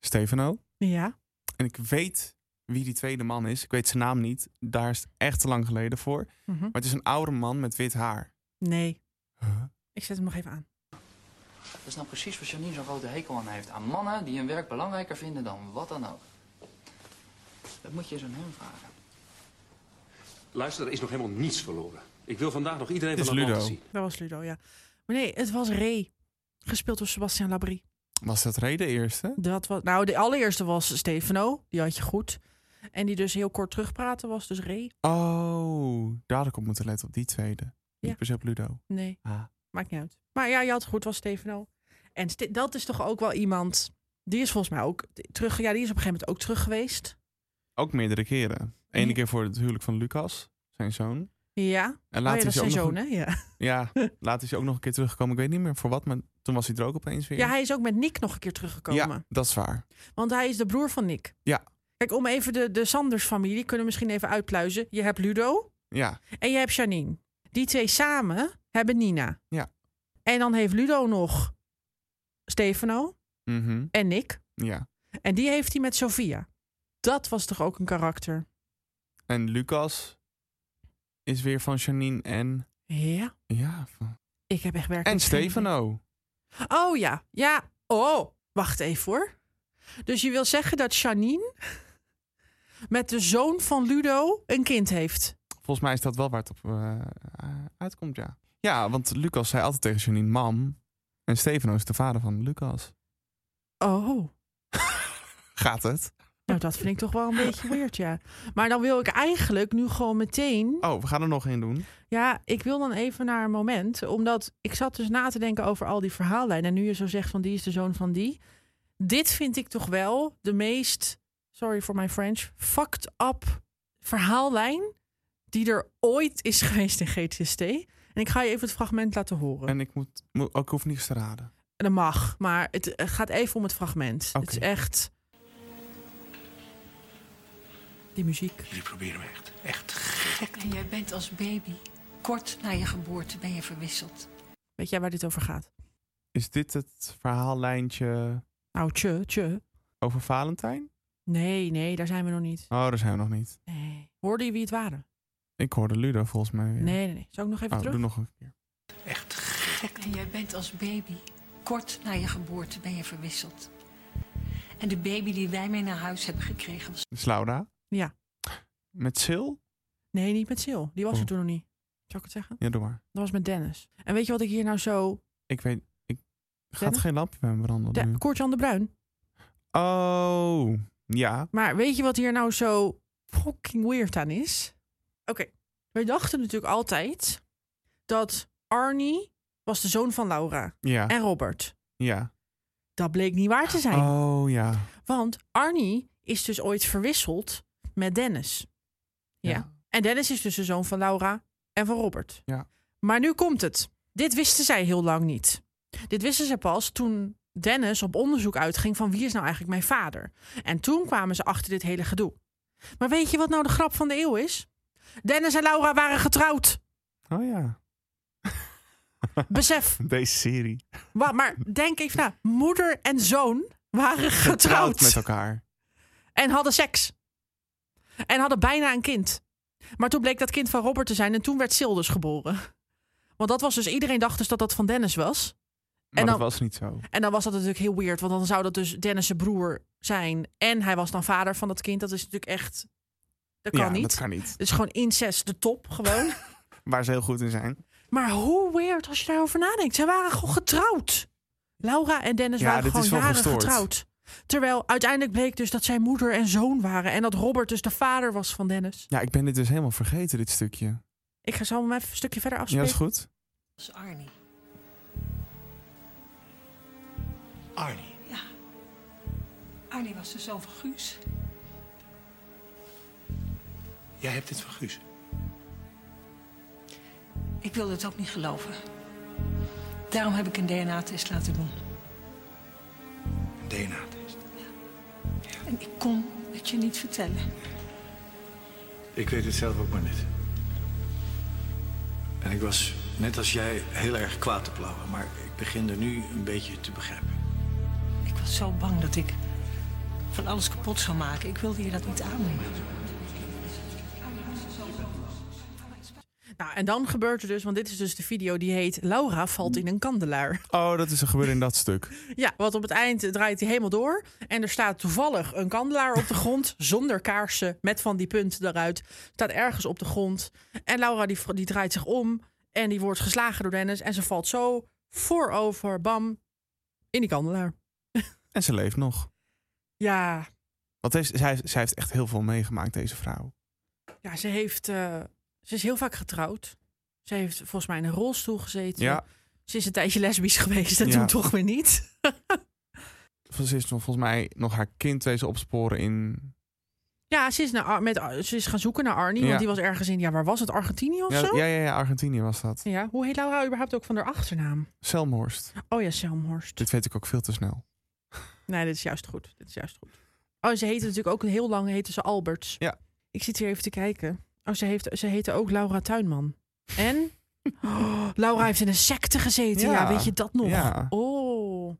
Speaker 1: Stefano.
Speaker 2: Ja.
Speaker 1: En ik weet wie die tweede man is. Ik weet zijn naam niet. Daar is het echt te lang geleden voor.
Speaker 2: Mhm.
Speaker 1: Maar het is een oude man met wit haar.
Speaker 2: Nee,
Speaker 1: Huh?
Speaker 2: ik zet hem nog even aan.
Speaker 6: Dat is nou precies waar Janine zo'n grote hekel aan heeft. Aan mannen die hun werk belangrijker vinden dan wat dan ook. Dat moet je eens aan hem vragen.
Speaker 8: Luister, er is nog helemaal niets verloren. Ik wil vandaag nog iedereen
Speaker 1: Dit
Speaker 8: van
Speaker 1: is
Speaker 8: Atlanta
Speaker 1: Ludo.
Speaker 8: zien.
Speaker 2: Dat was Ludo, ja. Maar nee, het was Ray. Gespeeld door Sebastian Labrie.
Speaker 1: Was dat reden eerst? hè?
Speaker 2: Dat was, nou, de allereerste was Stefano. Die had je goed. En die dus heel kort terugpraten was. Dus Ray.
Speaker 1: Oh, daar had ik op moeten letten op die tweede.
Speaker 2: Ja.
Speaker 1: Niet per se op Ludo.
Speaker 2: Nee.
Speaker 1: Ah.
Speaker 2: Maakt niet uit. Maar ja, je had het goed, was Stefano. En Ste- dat is toch ook wel iemand. Die is volgens mij ook t- terug. Ja, die is op een gegeven moment ook terug geweest.
Speaker 1: Ook meerdere keren. Eén
Speaker 2: Ja.
Speaker 1: keer voor het huwelijk van Lucas, zijn zoon.
Speaker 2: Ja.
Speaker 1: En
Speaker 2: Oh ja,
Speaker 1: later
Speaker 2: dat is
Speaker 1: is hij
Speaker 2: zijn
Speaker 1: ook nog
Speaker 2: zoon,
Speaker 1: een-
Speaker 2: hè? Ja.
Speaker 1: (laughs)
Speaker 2: (laughs)
Speaker 1: Ja, later is hij ook nog een keer teruggekomen. Ik weet niet meer voor wat, maar toen was hij er ook opeens weer.
Speaker 2: ja, hij is ook met Nick nog een keer teruggekomen.
Speaker 1: Ja, dat is waar.
Speaker 2: Want hij is de broer van Nick.
Speaker 1: Ja.
Speaker 2: Kijk, om even de, de Sanders-familie kunnen we misschien even uitpluizen. Je hebt Ludo
Speaker 1: Ja,
Speaker 2: en je hebt Janine. Die twee samen hebben Nina.
Speaker 1: Ja.
Speaker 2: En dan heeft Ludo nog Stefano
Speaker 1: mhm,
Speaker 2: en Nick.
Speaker 1: ja.
Speaker 2: En die heeft hij met Sofia. Dat was toch ook een karakter?
Speaker 1: En Lucas is weer van Janine en...
Speaker 2: Ja.
Speaker 1: Ja, van-
Speaker 2: Ik heb echt werk.
Speaker 1: En Stefano.
Speaker 2: Oh ja, ja. Oh, wacht even hoor. Dus je wil zeggen dat Janine met de zoon van Ludo een kind heeft.
Speaker 1: Volgens mij is dat wel waar het op eh, uitkomt, ja. Ja, want Lucas zei altijd tegen Janine, mam. En Stefano is de vader van Lucas.
Speaker 2: Oh,
Speaker 1: Gaat het?
Speaker 2: nou dat vind ik toch wel een beetje weird, ja. Maar dan wil ik eigenlijk nu gewoon meteen...
Speaker 1: Oh, we gaan er nog één doen.
Speaker 2: Ja, ik wil dan even naar een moment. Omdat ik zat dus na te denken over al die verhaallijnen. En nu je zo zegt van die is de zoon van die. Dit vind ik toch wel de meest, sorry voor mijn French, fucked up verhaallijn die er ooit is (laughs) geweest in GTST. En ik ga je even het fragment laten horen. En...
Speaker 1: En ik moet, moet ook hoef niks te raden.
Speaker 2: Dat mag, maar het, het gaat even om het fragment.
Speaker 1: Oké.
Speaker 2: Het is echt... Die muziek.
Speaker 9: Jullie proberen me echt, echt.
Speaker 10: En jij bent als baby, kort na je geboorte ben je verwisseld.
Speaker 2: Weet jij waar dit over gaat?
Speaker 1: Is dit het verhaallijntje
Speaker 2: Nou, tje, tje.
Speaker 1: over Valentijn?
Speaker 2: Nee, nee, daar zijn we nog niet.
Speaker 1: Oh, daar zijn we nog niet.
Speaker 2: Nee. Hoorde je wie het waren?
Speaker 1: Ik hoorde Ludo volgens mij weer.
Speaker 2: Nee, nee, nee. Zal ik nog even
Speaker 1: Oh,
Speaker 2: terug?
Speaker 1: doe nog een keer.
Speaker 10: En jij bent als baby, kort na je geboorte ben je verwisseld. En de baby die wij mee naar huis hebben gekregen was...
Speaker 1: Dus Laura?
Speaker 2: Ja.
Speaker 1: Met Sil?
Speaker 2: Nee, niet met Sil. Die was
Speaker 1: Oh.
Speaker 2: er toen nog niet. Zou ik het zeggen?
Speaker 1: Ja, doe maar.
Speaker 2: Dat was met Dennis. En weet je wat ik hier nou zo...
Speaker 1: Ik weet... Ik gaat
Speaker 2: Dennis?
Speaker 1: geen lampje bij me branden
Speaker 2: De...
Speaker 1: nu.
Speaker 2: Koert-Jan de Bruin.
Speaker 1: Oh, ja.
Speaker 2: Maar weet je wat hier nou zo fucking weird aan is? Oké. Wij dachten natuurlijk altijd dat Arnie was de zoon van Laura
Speaker 1: Ja,
Speaker 2: en Robert.
Speaker 1: ja.
Speaker 2: Dat bleek niet waar te zijn.
Speaker 1: Oh, ja.
Speaker 2: Want Arnie is dus ooit verwisseld met Dennis. Ja.
Speaker 1: Ja.
Speaker 2: En Dennis is dus de zoon van Laura en van Robert.
Speaker 1: Ja.
Speaker 2: Maar nu komt het. Dit wisten zij heel lang niet. Dit wisten zij pas toen Dennis op onderzoek uitging van wie is nou eigenlijk mijn vader. En toen kwamen ze achter dit hele gedoe. Maar weet je wat nou de grap van de eeuw is? Dennis en Laura waren getrouwd.
Speaker 1: Oh, ja.
Speaker 2: Besef.
Speaker 1: Deze
Speaker 2: (laughs)
Speaker 1: serie.
Speaker 2: Wa- maar denk even na. Moeder en zoon waren getrouwd.
Speaker 1: met elkaar.
Speaker 2: En hadden seks. En hadden bijna een kind. Maar toen bleek dat kind van Robert te zijn en toen werd Sil dus geboren. Want dat was dus, iedereen dacht dus dat dat van Dennis was.
Speaker 1: Maar
Speaker 2: dan-
Speaker 1: dat was niet zo.
Speaker 2: En dan was dat natuurlijk heel weird, want dan zou dat dus Dennis' broer zijn. En hij was dan vader van dat kind. Dat is natuurlijk echt. Dat kan
Speaker 1: ja,
Speaker 2: niet.
Speaker 1: dat kan niet.
Speaker 2: Het is gewoon incest, de top
Speaker 1: (laughs)
Speaker 2: gewoon.
Speaker 1: Waar ze heel goed in zijn.
Speaker 2: maar hoe weird als je daarover nadenkt. Zij waren gewoon getrouwd. Laura en Dennis
Speaker 1: Ja,
Speaker 2: waren
Speaker 1: dit is
Speaker 2: gewoon
Speaker 1: wel
Speaker 2: jaren
Speaker 1: gestoord.
Speaker 2: getrouwd. Terwijl uiteindelijk bleek dus dat zij moeder en zoon waren. En dat Robert dus de vader was van Dennis.
Speaker 1: Ja, ik ben dit dus helemaal vergeten, dit stukje.
Speaker 2: Ik ga zo maar even een stukje verder
Speaker 1: Ja,
Speaker 2: afspelen.
Speaker 1: dat is goed.
Speaker 10: was Arnie.
Speaker 9: Arnie.
Speaker 10: Ja. Arnie was de zoon van Guus.
Speaker 9: Jij hebt dit van Guus.
Speaker 10: Ik wilde het ook niet geloven. Daarom heb ik een DNA-test laten doen.
Speaker 9: Een DNA-test.
Speaker 10: En ik kon het je niet vertellen.
Speaker 9: Ik weet het zelf ook maar niet. En ik was, net als jij, heel erg kwaad te plauwen. Maar ik begin er nu een beetje te begrijpen.
Speaker 10: Ik was zo bang dat ik van alles kapot zou maken. Ik wilde je dat niet aandoen.
Speaker 2: Nou, en dan gebeurt er dus, want dit is dus de video die heet Laura
Speaker 1: Hm.
Speaker 2: valt in een kandelaar.
Speaker 1: Oh, dat is er gebeurd in dat stuk.
Speaker 2: Ja, want op het eind draait hij helemaal door. En er staat toevallig een kandelaar op de grond, (laughs) zonder kaarsen, met van die punten eruit. Staat ergens op de grond. En Laura die, die draait zich om en die wordt geslagen door Dennis. En ze valt zo voorover, bam, in die kandelaar.
Speaker 1: En ze leeft nog.
Speaker 2: Ja,
Speaker 1: Want heeft, zij, zij heeft echt heel veel meegemaakt, deze vrouw.
Speaker 2: ja ze, heeft, eh, ze is heel vaak getrouwd. Ze heeft volgens mij in een rolstoel gezeten.
Speaker 1: Ja,
Speaker 2: Ze is een tijdje lesbisch (laughs) geweest en
Speaker 1: Ja.
Speaker 2: toen toch weer niet.
Speaker 1: ze is nog volgens mij nog haar kind deze opsporen in...
Speaker 2: Ja, ze is, naar, Ar- met, Ar- ze is gaan zoeken naar Arnie.
Speaker 1: Ja.
Speaker 2: Want die was ergens in, ja, waar was het? Argentinië of
Speaker 1: Ja,
Speaker 2: zo?
Speaker 1: ja, ja, ja, Argentinië was dat.
Speaker 2: Ja, hoe heet Laura überhaupt ook van haar achternaam?
Speaker 1: Selmhorst.
Speaker 2: Oh ja, Selmhorst.
Speaker 1: Dit weet ik ook veel te snel.
Speaker 2: Nee, dit is juist goed. Dit is juist goed. Oh, ze heette natuurlijk ook heel lang heette ze Alberts.
Speaker 1: Ja.
Speaker 2: Ik zit hier even te kijken. Oh, ze, heeft, ze heette ook Laura Tuinman. (gasps) En? Oh, Laura heeft in een secte gezeten. Ja,
Speaker 1: Ja.
Speaker 2: weet je dat nog?
Speaker 1: Ja.
Speaker 2: Oh. Nou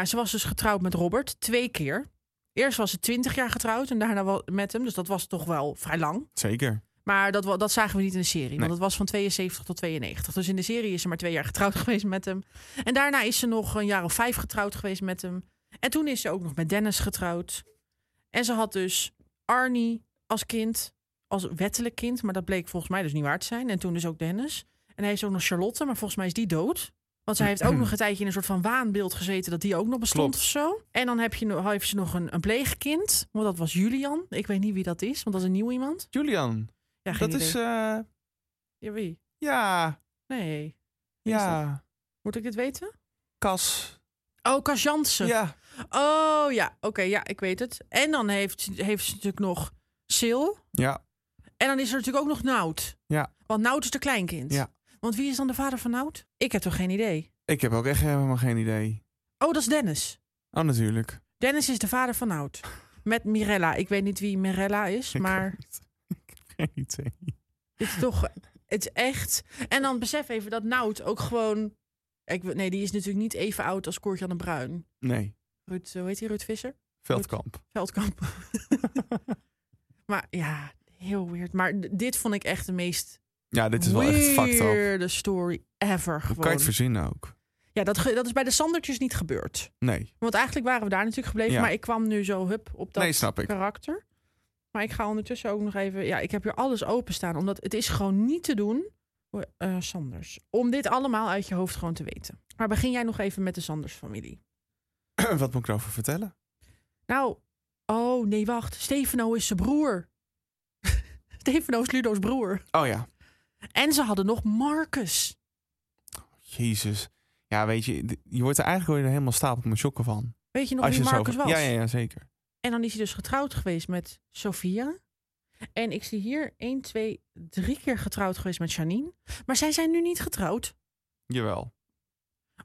Speaker 2: ja, ze was dus getrouwd met Robert. Twee keer. Eerst was ze twintig jaar getrouwd en daarna wel met hem. Dus dat was toch wel vrij lang.
Speaker 1: Zeker.
Speaker 2: Maar dat, wa- dat zagen we niet in de serie.
Speaker 1: Nee.
Speaker 2: Want het was van 72 tot 92. Dus in de serie is ze maar twee jaar getrouwd (laughs) geweest met hem. En daarna is ze nog een jaar of vijf getrouwd geweest met hem. En toen is ze ook nog met Dennis getrouwd. En ze had dus Arnie als kind, als wettelijk kind. Maar dat bleek volgens mij dus niet waar te zijn. En toen dus ook Dennis. En hij is ook nog Charlotte, maar volgens mij is die dood. Want zij heeft ook
Speaker 1: (clears throat)
Speaker 2: nog een tijdje in een soort van waanbeeld gezeten... dat die ook nog bestond
Speaker 1: Mm. Klopt.
Speaker 2: of zo. En dan heb je, nog- heeft ze nog een, een pleegkind. Want dat was Julian. Ik weet niet wie dat is, want dat is een nieuw iemand.
Speaker 1: Julian,
Speaker 2: Ja, geen
Speaker 1: dat is...
Speaker 2: idee.
Speaker 1: eh,
Speaker 2: Ja, wie?
Speaker 1: ja,
Speaker 2: Nee.
Speaker 1: ja.
Speaker 2: Moet ik dit weten?
Speaker 1: Kas.
Speaker 2: Oh, Cas Jansen.
Speaker 1: Ja,
Speaker 2: Oh ja, oké, ja, ik weet het. En dan heeft, heeft ze natuurlijk nog Sil.
Speaker 1: ja.
Speaker 2: En dan is er natuurlijk ook nog Nout.
Speaker 1: Ja.
Speaker 2: Want Nout is de kleinkind.
Speaker 1: Ja.
Speaker 2: Want wie is dan de vader van Nout? Ik heb toch geen idee.
Speaker 1: Ik heb ook echt helemaal geen idee.
Speaker 2: Oh, dat is Dennis.
Speaker 1: Oh, natuurlijk.
Speaker 2: Dennis is de vader van Nout. Met Mirella. Ik weet niet wie Mirella is,
Speaker 1: Ik
Speaker 2: maar
Speaker 1: ook niet. (laughs) Ik heb geen idee.
Speaker 2: dit is toch... Het is echt... En dan besef even dat Nout ook gewoon... Ik, nee, die is natuurlijk niet even oud als Koortje de Bruin.
Speaker 1: Nee,
Speaker 2: Ruud, eh, hoe heet die? Ruud Visser?
Speaker 1: Veldkamp.
Speaker 2: Veldkamp. (laughs) maar ja, heel weird. Maar d- dit vond ik echt de meest
Speaker 1: Ja, dit is wel echt fucked up.
Speaker 2: weirde story ever.
Speaker 1: Hoe kan je
Speaker 2: Gewoon.
Speaker 1: het verzinnen ook?
Speaker 2: Ja, dat, ge- dat is bij de Sandertjes niet gebeurd.
Speaker 1: Nee. (clears throat)
Speaker 2: Want eigenlijk waren we daar natuurlijk gebleven.
Speaker 1: Ja.
Speaker 2: Maar ik kwam nu zo hup op dat
Speaker 1: Nee, snap ik.
Speaker 2: karakter. Maar ik ga ondertussen ook nog even... Ja, ik heb hier alles openstaan. Omdat het is gewoon niet te doen, eh, Sanders. Om dit allemaal uit je hoofd gewoon te weten. Maar begin jij nog even met de Sanders-familie.
Speaker 1: Wat moet ik erover vertellen?
Speaker 2: Nou, oh nee, wacht. Stefano is zijn broer. (laughs) Stefano is Ludo's broer.
Speaker 1: Oh ja.
Speaker 2: En ze hadden nog Marcus.
Speaker 1: Jezus. Ja, weet je, d- je wordt er eigenlijk weer helemaal stapel met chokken van.
Speaker 2: Weet je nog
Speaker 1: als je
Speaker 2: wie
Speaker 1: het zo-
Speaker 2: Marcus was?
Speaker 1: Ja, ja, ja, zeker.
Speaker 2: En dan is hij dus getrouwd geweest met Sophia. En ik zie hier 1, 2, 3 keer getrouwd geweest met Janine. Maar zij zijn nu niet getrouwd.
Speaker 1: Jawel.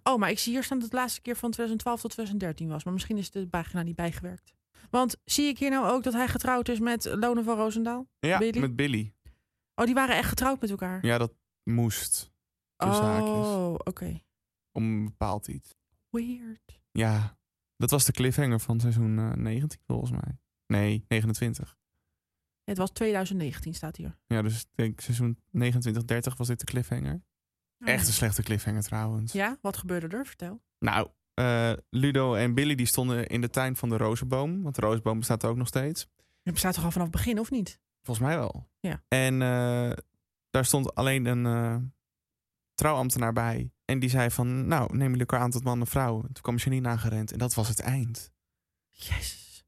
Speaker 2: Oh, maar ik zie hier staan dat het de laatste keer van 2012 tot 2013 was. Maar misschien is de pagina niet bijgewerkt. Want zie ik hier nou ook dat hij getrouwd is met Lone van Roosendaal?
Speaker 1: Ja,
Speaker 2: Billy?
Speaker 1: met Billy.
Speaker 2: Oh, die waren echt getrouwd met elkaar.
Speaker 1: Ja, dat moest. tussen haakjes.
Speaker 2: oh, oké.
Speaker 1: Om een bepaald iets.
Speaker 2: Weird.
Speaker 1: Ja, dat was de cliffhanger van seizoen eh, 19 volgens mij. Nee, 29.
Speaker 2: Het was 2019, staat hier.
Speaker 1: Ja, dus ik denk seizoen 29, 30 was dit de cliffhanger. Echt een slechte cliffhanger trouwens.
Speaker 2: Mm. Oh, Ja, wat gebeurde er? Vertel.
Speaker 1: Nou, eh, Ludo en Billy die stonden in de tuin van de rozenboom. Want de rozenboom bestaat ook nog steeds.
Speaker 2: Het bestaat toch al vanaf het begin, of niet?
Speaker 1: Volgens mij wel.
Speaker 2: Ja.
Speaker 1: En eh, daar stond alleen een eh, trouwambtenaar bij. En die zei van, nou, neem jullie elkaar aan tot man en vrouw. En toen kwam Janine aangerend en dat was het
Speaker 2: (laughs)
Speaker 1: eind.
Speaker 2: Jezus.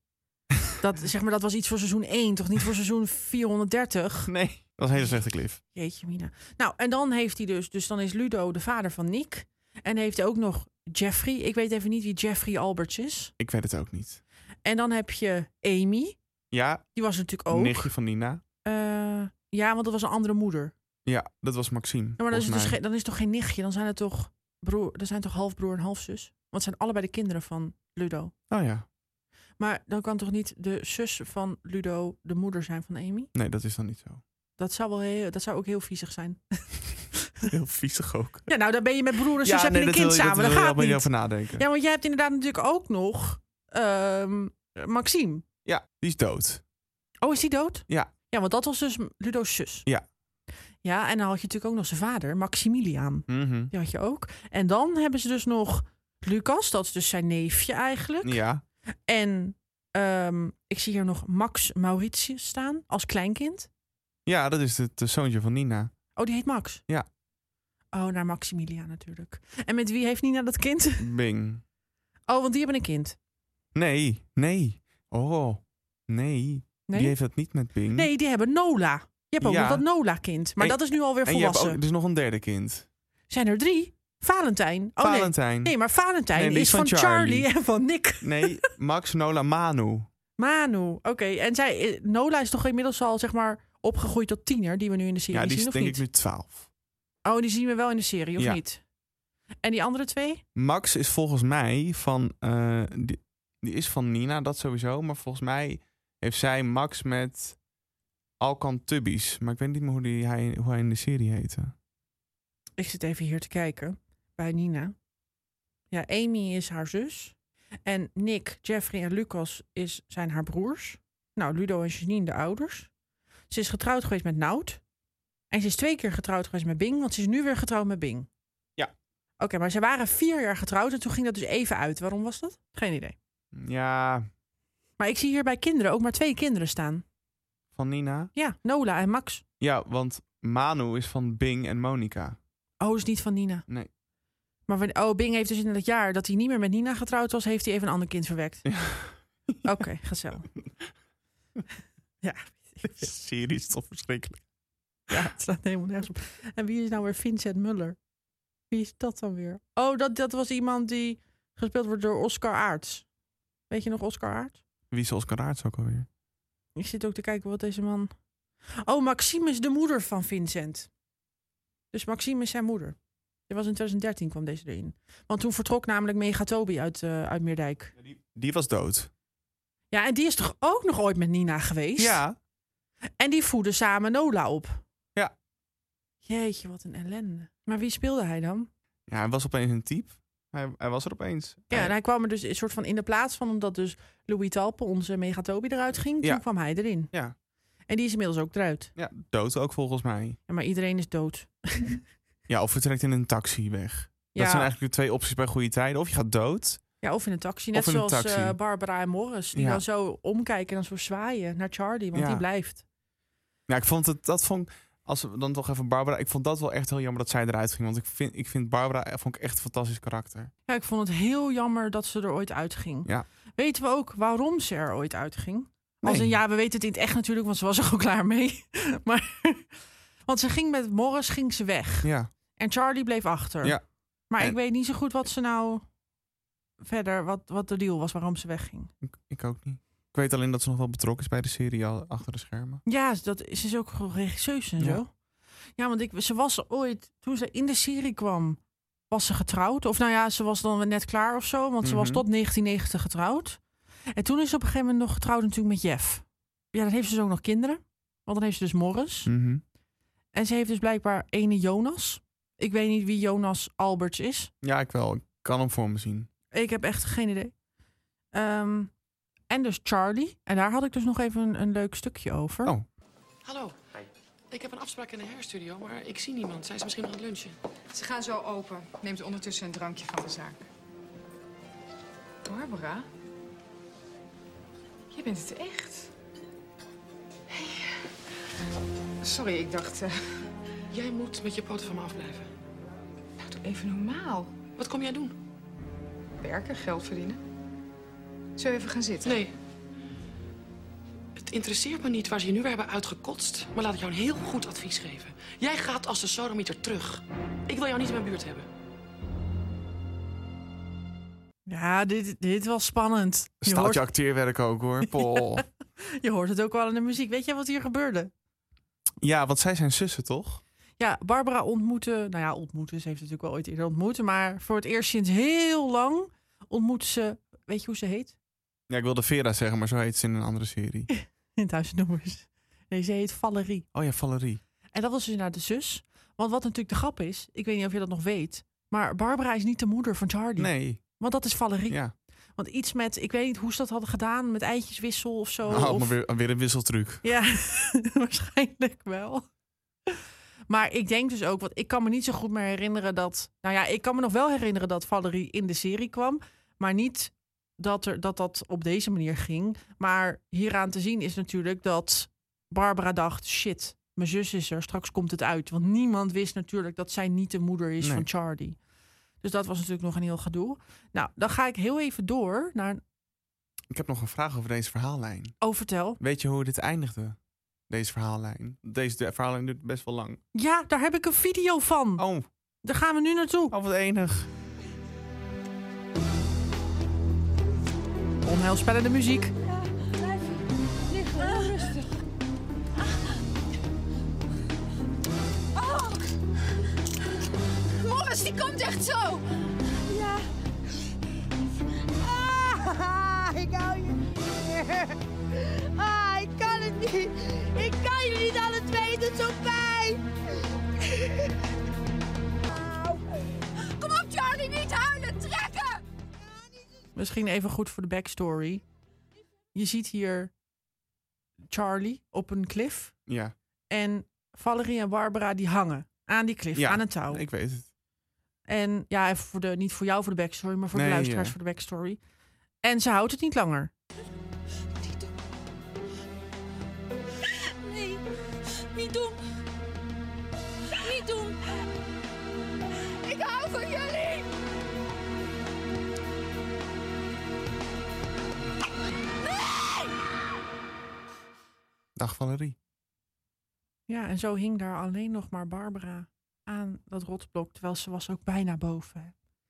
Speaker 2: Dat,
Speaker 1: (laughs)
Speaker 2: zeg maar, dat was iets voor seizoen 1, toch niet voor seizoen 430?
Speaker 1: Nee. Dat was een hele slechte cliff.
Speaker 2: Jeetje mina. Nou, en dan heeft hij dus... Dus dan is Ludo de vader van Nick. En heeft hij ook nog Jeffrey. Ik weet even niet wie Jeffrey Alberts is.
Speaker 1: Ik weet het ook niet.
Speaker 2: En dan heb je Amy.
Speaker 1: Ja,
Speaker 2: Die was er natuurlijk ook.
Speaker 1: nichtje van Nina.
Speaker 2: Eh, ja, want dat was een andere moeder.
Speaker 1: Ja, dat was Maxime.
Speaker 2: Ja, maar dan is, het
Speaker 1: volgens
Speaker 2: dus
Speaker 1: mij.
Speaker 2: geen- dan is het toch geen nichtje? Dan zijn het toch, broer, dan zijn toch halfbroer en halfzus? Want het zijn allebei de kinderen van Ludo.
Speaker 1: Oh ja,
Speaker 2: Maar dan kan toch niet de zus van Ludo de moeder zijn van Amy?
Speaker 1: nee, dat is dan niet
Speaker 2: (laughs)
Speaker 1: zo.
Speaker 2: Dat zou, wel heel, dat zou ook heel viezig zijn.
Speaker 1: Heel viezig ook.
Speaker 2: ja, nou, dan ben je met broer en zus heb je een
Speaker 1: dat
Speaker 2: kind
Speaker 1: wil
Speaker 2: samen. Dat,
Speaker 1: wil je
Speaker 2: gaat
Speaker 1: allemaal niet
Speaker 2: niet.
Speaker 1: over nadenken. Ja.
Speaker 2: Ja, want jij hebt inderdaad natuurlijk ook nog ehm, Maxime.
Speaker 1: die is dood.
Speaker 2: Oh, is die dood?
Speaker 1: Ja.
Speaker 2: Ja, want dat was dus Ludo's zus.
Speaker 1: Ja.
Speaker 2: Ja, en dan had je natuurlijk ook nog zijn vader, Maximiliaan.
Speaker 1: Mhm.
Speaker 2: Die had je ook. En dan hebben ze dus nog Lucas, dat is dus zijn neefje eigenlijk.
Speaker 1: Ja,
Speaker 2: En ehm, ik zie hier nog Max Mauritius staan als kleinkind.
Speaker 1: ja, dat is het eh, zoontje van Nina.
Speaker 2: Oh, die heet Max.
Speaker 1: Ja.
Speaker 2: Oh, naar Maximilia natuurlijk. En met wie heeft Nina dat kind? (laughs)
Speaker 1: Bing.
Speaker 2: Oh, want die hebben een kind.
Speaker 1: Nee, nee. Oh, nee.
Speaker 2: Nee,
Speaker 1: Die heeft dat niet met Bing.
Speaker 2: nee die hebben Nola. Je hebt ook
Speaker 1: Ja.
Speaker 2: nog dat Nola-kind. Maar
Speaker 1: En-
Speaker 2: dat is nu alweer
Speaker 1: en je hebt
Speaker 2: volwassen.
Speaker 1: ook, er is nog een derde kind.
Speaker 2: Zijn er drie? Valentijn. Oh, nee.
Speaker 1: Valentijn.
Speaker 2: Nee, maar Valentijn
Speaker 1: Nee, die
Speaker 2: is van, Charlie. en
Speaker 1: (laughs)
Speaker 2: van Nick.
Speaker 1: Nee,
Speaker 2: (laughs)
Speaker 1: Max, Nola, Manu.
Speaker 2: Manu. Oké, en zij, eh, Nola is toch inmiddels al zeg maar opgegroeid tot tiener, die we nu in de serie
Speaker 1: Ja, die
Speaker 2: zien,
Speaker 1: is
Speaker 2: of
Speaker 1: denk
Speaker 2: niet?
Speaker 1: ik nu 12.
Speaker 2: Oh, die zien we wel in de serie, of
Speaker 1: Ja.
Speaker 2: niet? En die andere twee?
Speaker 1: Max is volgens mij van... eh, die, die is van Nina, dat sowieso. Maar volgens mij heeft zij Max met Alkan Tubbies. Maar ik weet niet meer hoe, die, hij, hoe hij in de serie heette.
Speaker 2: Ik zit even hier te kijken bij Nina. Ja, Amy is haar zus. En Nick, Jeffrey en Lucas is, zijn haar broers. Nou, Ludo en Janine de ouders. Ze is getrouwd geweest met Nout. En ze is twee keer getrouwd geweest met Bing, want ze is nu weer getrouwd met Bing.
Speaker 1: Ja.
Speaker 2: Oké, maar ze waren vier jaar getrouwd en toen ging dat dus even uit. Waarom was dat? Geen idee.
Speaker 1: Ja,
Speaker 2: Maar ik zie hier bij kinderen ook maar twee kinderen staan.
Speaker 1: van Nina.
Speaker 2: Ja, Nola en Max.
Speaker 1: Ja, want Manu is van Bing en
Speaker 2: (laughs)
Speaker 1: Monica.
Speaker 2: Oh, is niet van Nina.
Speaker 1: Nee.
Speaker 2: Maar van- oh, Bing heeft dus in dat jaar dat hij niet meer met Nina getrouwd was, heeft hij even een ander kind verwekt. (laughs) Oké, gezellig. ja,
Speaker 1: De serie is toch verschrikkelijk.
Speaker 2: het slaat helemaal nergens op. En wie is nou weer Vincent Muller? Wie is dat dan weer? Oh, dat, dat was iemand die gespeeld wordt door Oscar Aarts. Weet je nog Oscar Aarts?
Speaker 1: Wie is Oscar Aarts ook alweer?
Speaker 2: Ik zit ook te kijken wat deze man... Oh, Maxime is de moeder van Vincent. Dus Maxime is zijn moeder. Dit was in 2013 kwam deze erin. Want toen vertrok namelijk Megatobi uit, eh, uit Meerdijk.
Speaker 1: Die, die was dood.
Speaker 2: Ja, en die is toch ook nog ooit met Nina geweest?
Speaker 1: Ja,
Speaker 2: En die voeden samen Nola op.
Speaker 1: Ja.
Speaker 2: Jeetje, wat een ellende. Maar wie speelde hij dan?
Speaker 1: ja hij was opeens een type. Hij, hij was er opeens.
Speaker 2: Ja,
Speaker 1: Hij-
Speaker 2: en hij kwam er dus een soort van in de plaats van, omdat dus Louis Talpe, onze megatobi, eruit ging.
Speaker 1: Ja.
Speaker 2: Toen kwam hij erin.
Speaker 1: Ja.
Speaker 2: En die is inmiddels ook eruit.
Speaker 1: ja, dood ook volgens mij.
Speaker 2: Ja, maar iedereen is dood.
Speaker 1: Ja, of vertrekt in een taxi weg.
Speaker 2: Ja,
Speaker 1: Dat zijn eigenlijk de twee opties bij goede tijden. Of je gaat dood.
Speaker 2: ja, of in een taxi. Net
Speaker 1: Of in een
Speaker 2: zoals
Speaker 1: taxi.
Speaker 2: eh, Barbara en Morris. Die
Speaker 1: Ja.
Speaker 2: dan zo omkijken en dan zo zwaaien naar Charlie, want
Speaker 1: Ja.
Speaker 2: die blijft.
Speaker 1: Ja, ik vond het, dat vond als we dan toch even Barbara, ik vond dat wel echt heel jammer dat zij eruit ging. Want ik vind, ik vind Barbara eh, vond ik echt een fantastisch karakter.
Speaker 2: Ja, ik vond het heel jammer dat ze er ooit uitging.
Speaker 1: Ja.
Speaker 2: Weten we ook waarom ze er ooit uitging?
Speaker 1: Nee.
Speaker 2: Als een ja, we weten het in het echt natuurlijk, want ze was er al (laughs) klaar mee. maar, want ze ging met Morris ging ze weg.
Speaker 1: Ja,
Speaker 2: En Charlie bleef achter.
Speaker 1: Ja.
Speaker 2: Maar ik
Speaker 1: En-
Speaker 2: weet niet zo goed wat ze nou verder, wat, wat de deal was waarom ze wegging.
Speaker 1: ik, ik ook niet. Ik weet alleen dat ze nog wel betrokken is bij de serie al achter de schermen.
Speaker 2: Ja, dat, ze is ook gewoon regisseuse en
Speaker 1: Ja.
Speaker 2: zo. Ja, want ik, ze was ooit, toen ze in de serie kwam, was ze getrouwd. Of nou ja, ze was dan net klaar of zo, want ze was
Speaker 1: Mhm.
Speaker 2: tot 1990 getrouwd. En toen is ze op een gegeven moment nog getrouwd natuurlijk met Jeff. Ja, dan heeft ze dus ook nog kinderen. Want dan heeft ze dus Morris.
Speaker 1: Mhm.
Speaker 2: En ze heeft dus blijkbaar ene Jonas. Ik weet niet wie Jonas Alberts is.
Speaker 1: Ja, ik wel. Ik kan hem voor me zien.
Speaker 2: Ik heb echt geen idee. Ehm, en dus Charlie. En daar had ik dus nog even een, een leuk stukje over.
Speaker 1: Oh.
Speaker 11: Hallo. Ik heb een afspraak in de hairstudio, maar ik zie niemand. Zijn ze misschien nog aan het lunchen?
Speaker 12: Ze gaan zo open. Neemt ondertussen een drankje van de zaak. Barbara? Je bent het echt. Hey. Sorry, ik dacht... eh,
Speaker 11: Jij moet met je poten van me afblijven.
Speaker 12: nou, doe even normaal.
Speaker 11: Wat kom jij doen?
Speaker 12: Werken, geld verdienen. Zullen we even gaan zitten?
Speaker 11: Nee. Het interesseert me niet waar ze je nu weer hebben uitgekotst. Maar laat ik jou een heel goed advies geven. Jij gaat als de sodomieter terug. Ik wil jou niet in mijn buurt hebben.
Speaker 2: Ja, dit, dit was spannend. Je
Speaker 1: Staat
Speaker 2: hoort,
Speaker 1: je acteerwerk ook
Speaker 2: (laughs)
Speaker 1: hoor, Paul.
Speaker 2: je hoort het ook wel in de muziek. Weet je wat hier gebeurde?
Speaker 1: ja, want zij zijn zussen toch?
Speaker 2: Ja, Barbara ontmoette... Nou ja, ontmoette. Ze heeft het natuurlijk wel ooit eerder ontmoet. Maar voor het eerst sinds heel lang ontmoet ze... Weet je hoe ze heet? (laughs)
Speaker 1: Ja, ik wilde Vera zeggen, maar zo heet ze in een andere serie.
Speaker 2: In het huis noemers. Nee, ze heet Valerie.
Speaker 1: Oh ja, Valerie.
Speaker 2: En dat was dus naar de zus. Want wat natuurlijk de grap is... Ik weet niet of je dat nog weet. Maar Barbara is niet de moeder van Charlie.
Speaker 1: Nee,
Speaker 2: Want dat is Valerie.
Speaker 1: ja.
Speaker 2: Want iets met, ik weet niet hoe ze dat hadden gedaan, met eitjeswissel of zo.
Speaker 1: Oh,
Speaker 2: of-
Speaker 1: maar weer, weer een wisseltruc.
Speaker 2: Ja, (laughs) waarschijnlijk wel. Maar ik denk dus ook, want ik kan me niet zo goed meer herinneren dat. Nou ja, ik kan me nog wel herinneren dat Valerie in de serie kwam, maar niet dat er, dat, dat op deze manier ging. Maar hieraan te zien is natuurlijk dat Barbara dacht: shit, mijn zus is er, straks komt het uit. Want niemand wist natuurlijk dat zij niet de moeder is
Speaker 1: Nee.
Speaker 2: van Charlie. Dus dat was natuurlijk nog een heel gedoe. Nou, dan ga ik heel even door naar.
Speaker 1: Ik heb nog een vraag over deze verhaallijn.
Speaker 2: Oh, vertel.
Speaker 1: Weet je hoe dit eindigde? Deze verhaallijn. Deze de- verhaallijn duurt best wel lang.
Speaker 2: Ja, daar heb ik een video van.
Speaker 1: Oh,
Speaker 2: Daar gaan we nu naartoe.
Speaker 1: oh wat enig.
Speaker 2: Onheilspellende muziek.
Speaker 12: Morris, die komt echt zo!
Speaker 4: Ah, ik hou je niet meer. Ah, ik kan het niet. Ik kan je niet alle twee. Het doet zo pijn.
Speaker 12: Kom op, Charlie, niet huilen! Trekken!
Speaker 2: Misschien even goed voor de backstory. Je ziet hier Charlie op een klif.
Speaker 1: Ja.
Speaker 2: En Valerie en Barbara die hangen aan die klif,
Speaker 1: Ja,
Speaker 2: aan een touw.
Speaker 1: Ik weet het.
Speaker 2: En ja, even voor de, niet voor jou voor de backstory, maar voor
Speaker 1: Nee,
Speaker 2: de luisteraars
Speaker 1: ja.
Speaker 2: voor de backstory. En ze houdt het niet langer.
Speaker 4: Nee, niet doen. Niet doen. Ik hou van jullie.
Speaker 1: Dag Valerie.
Speaker 2: Ja, en zo hing daar alleen nog maar Barbara aan dat rotsblok, terwijl ze was ook bijna boven. hè.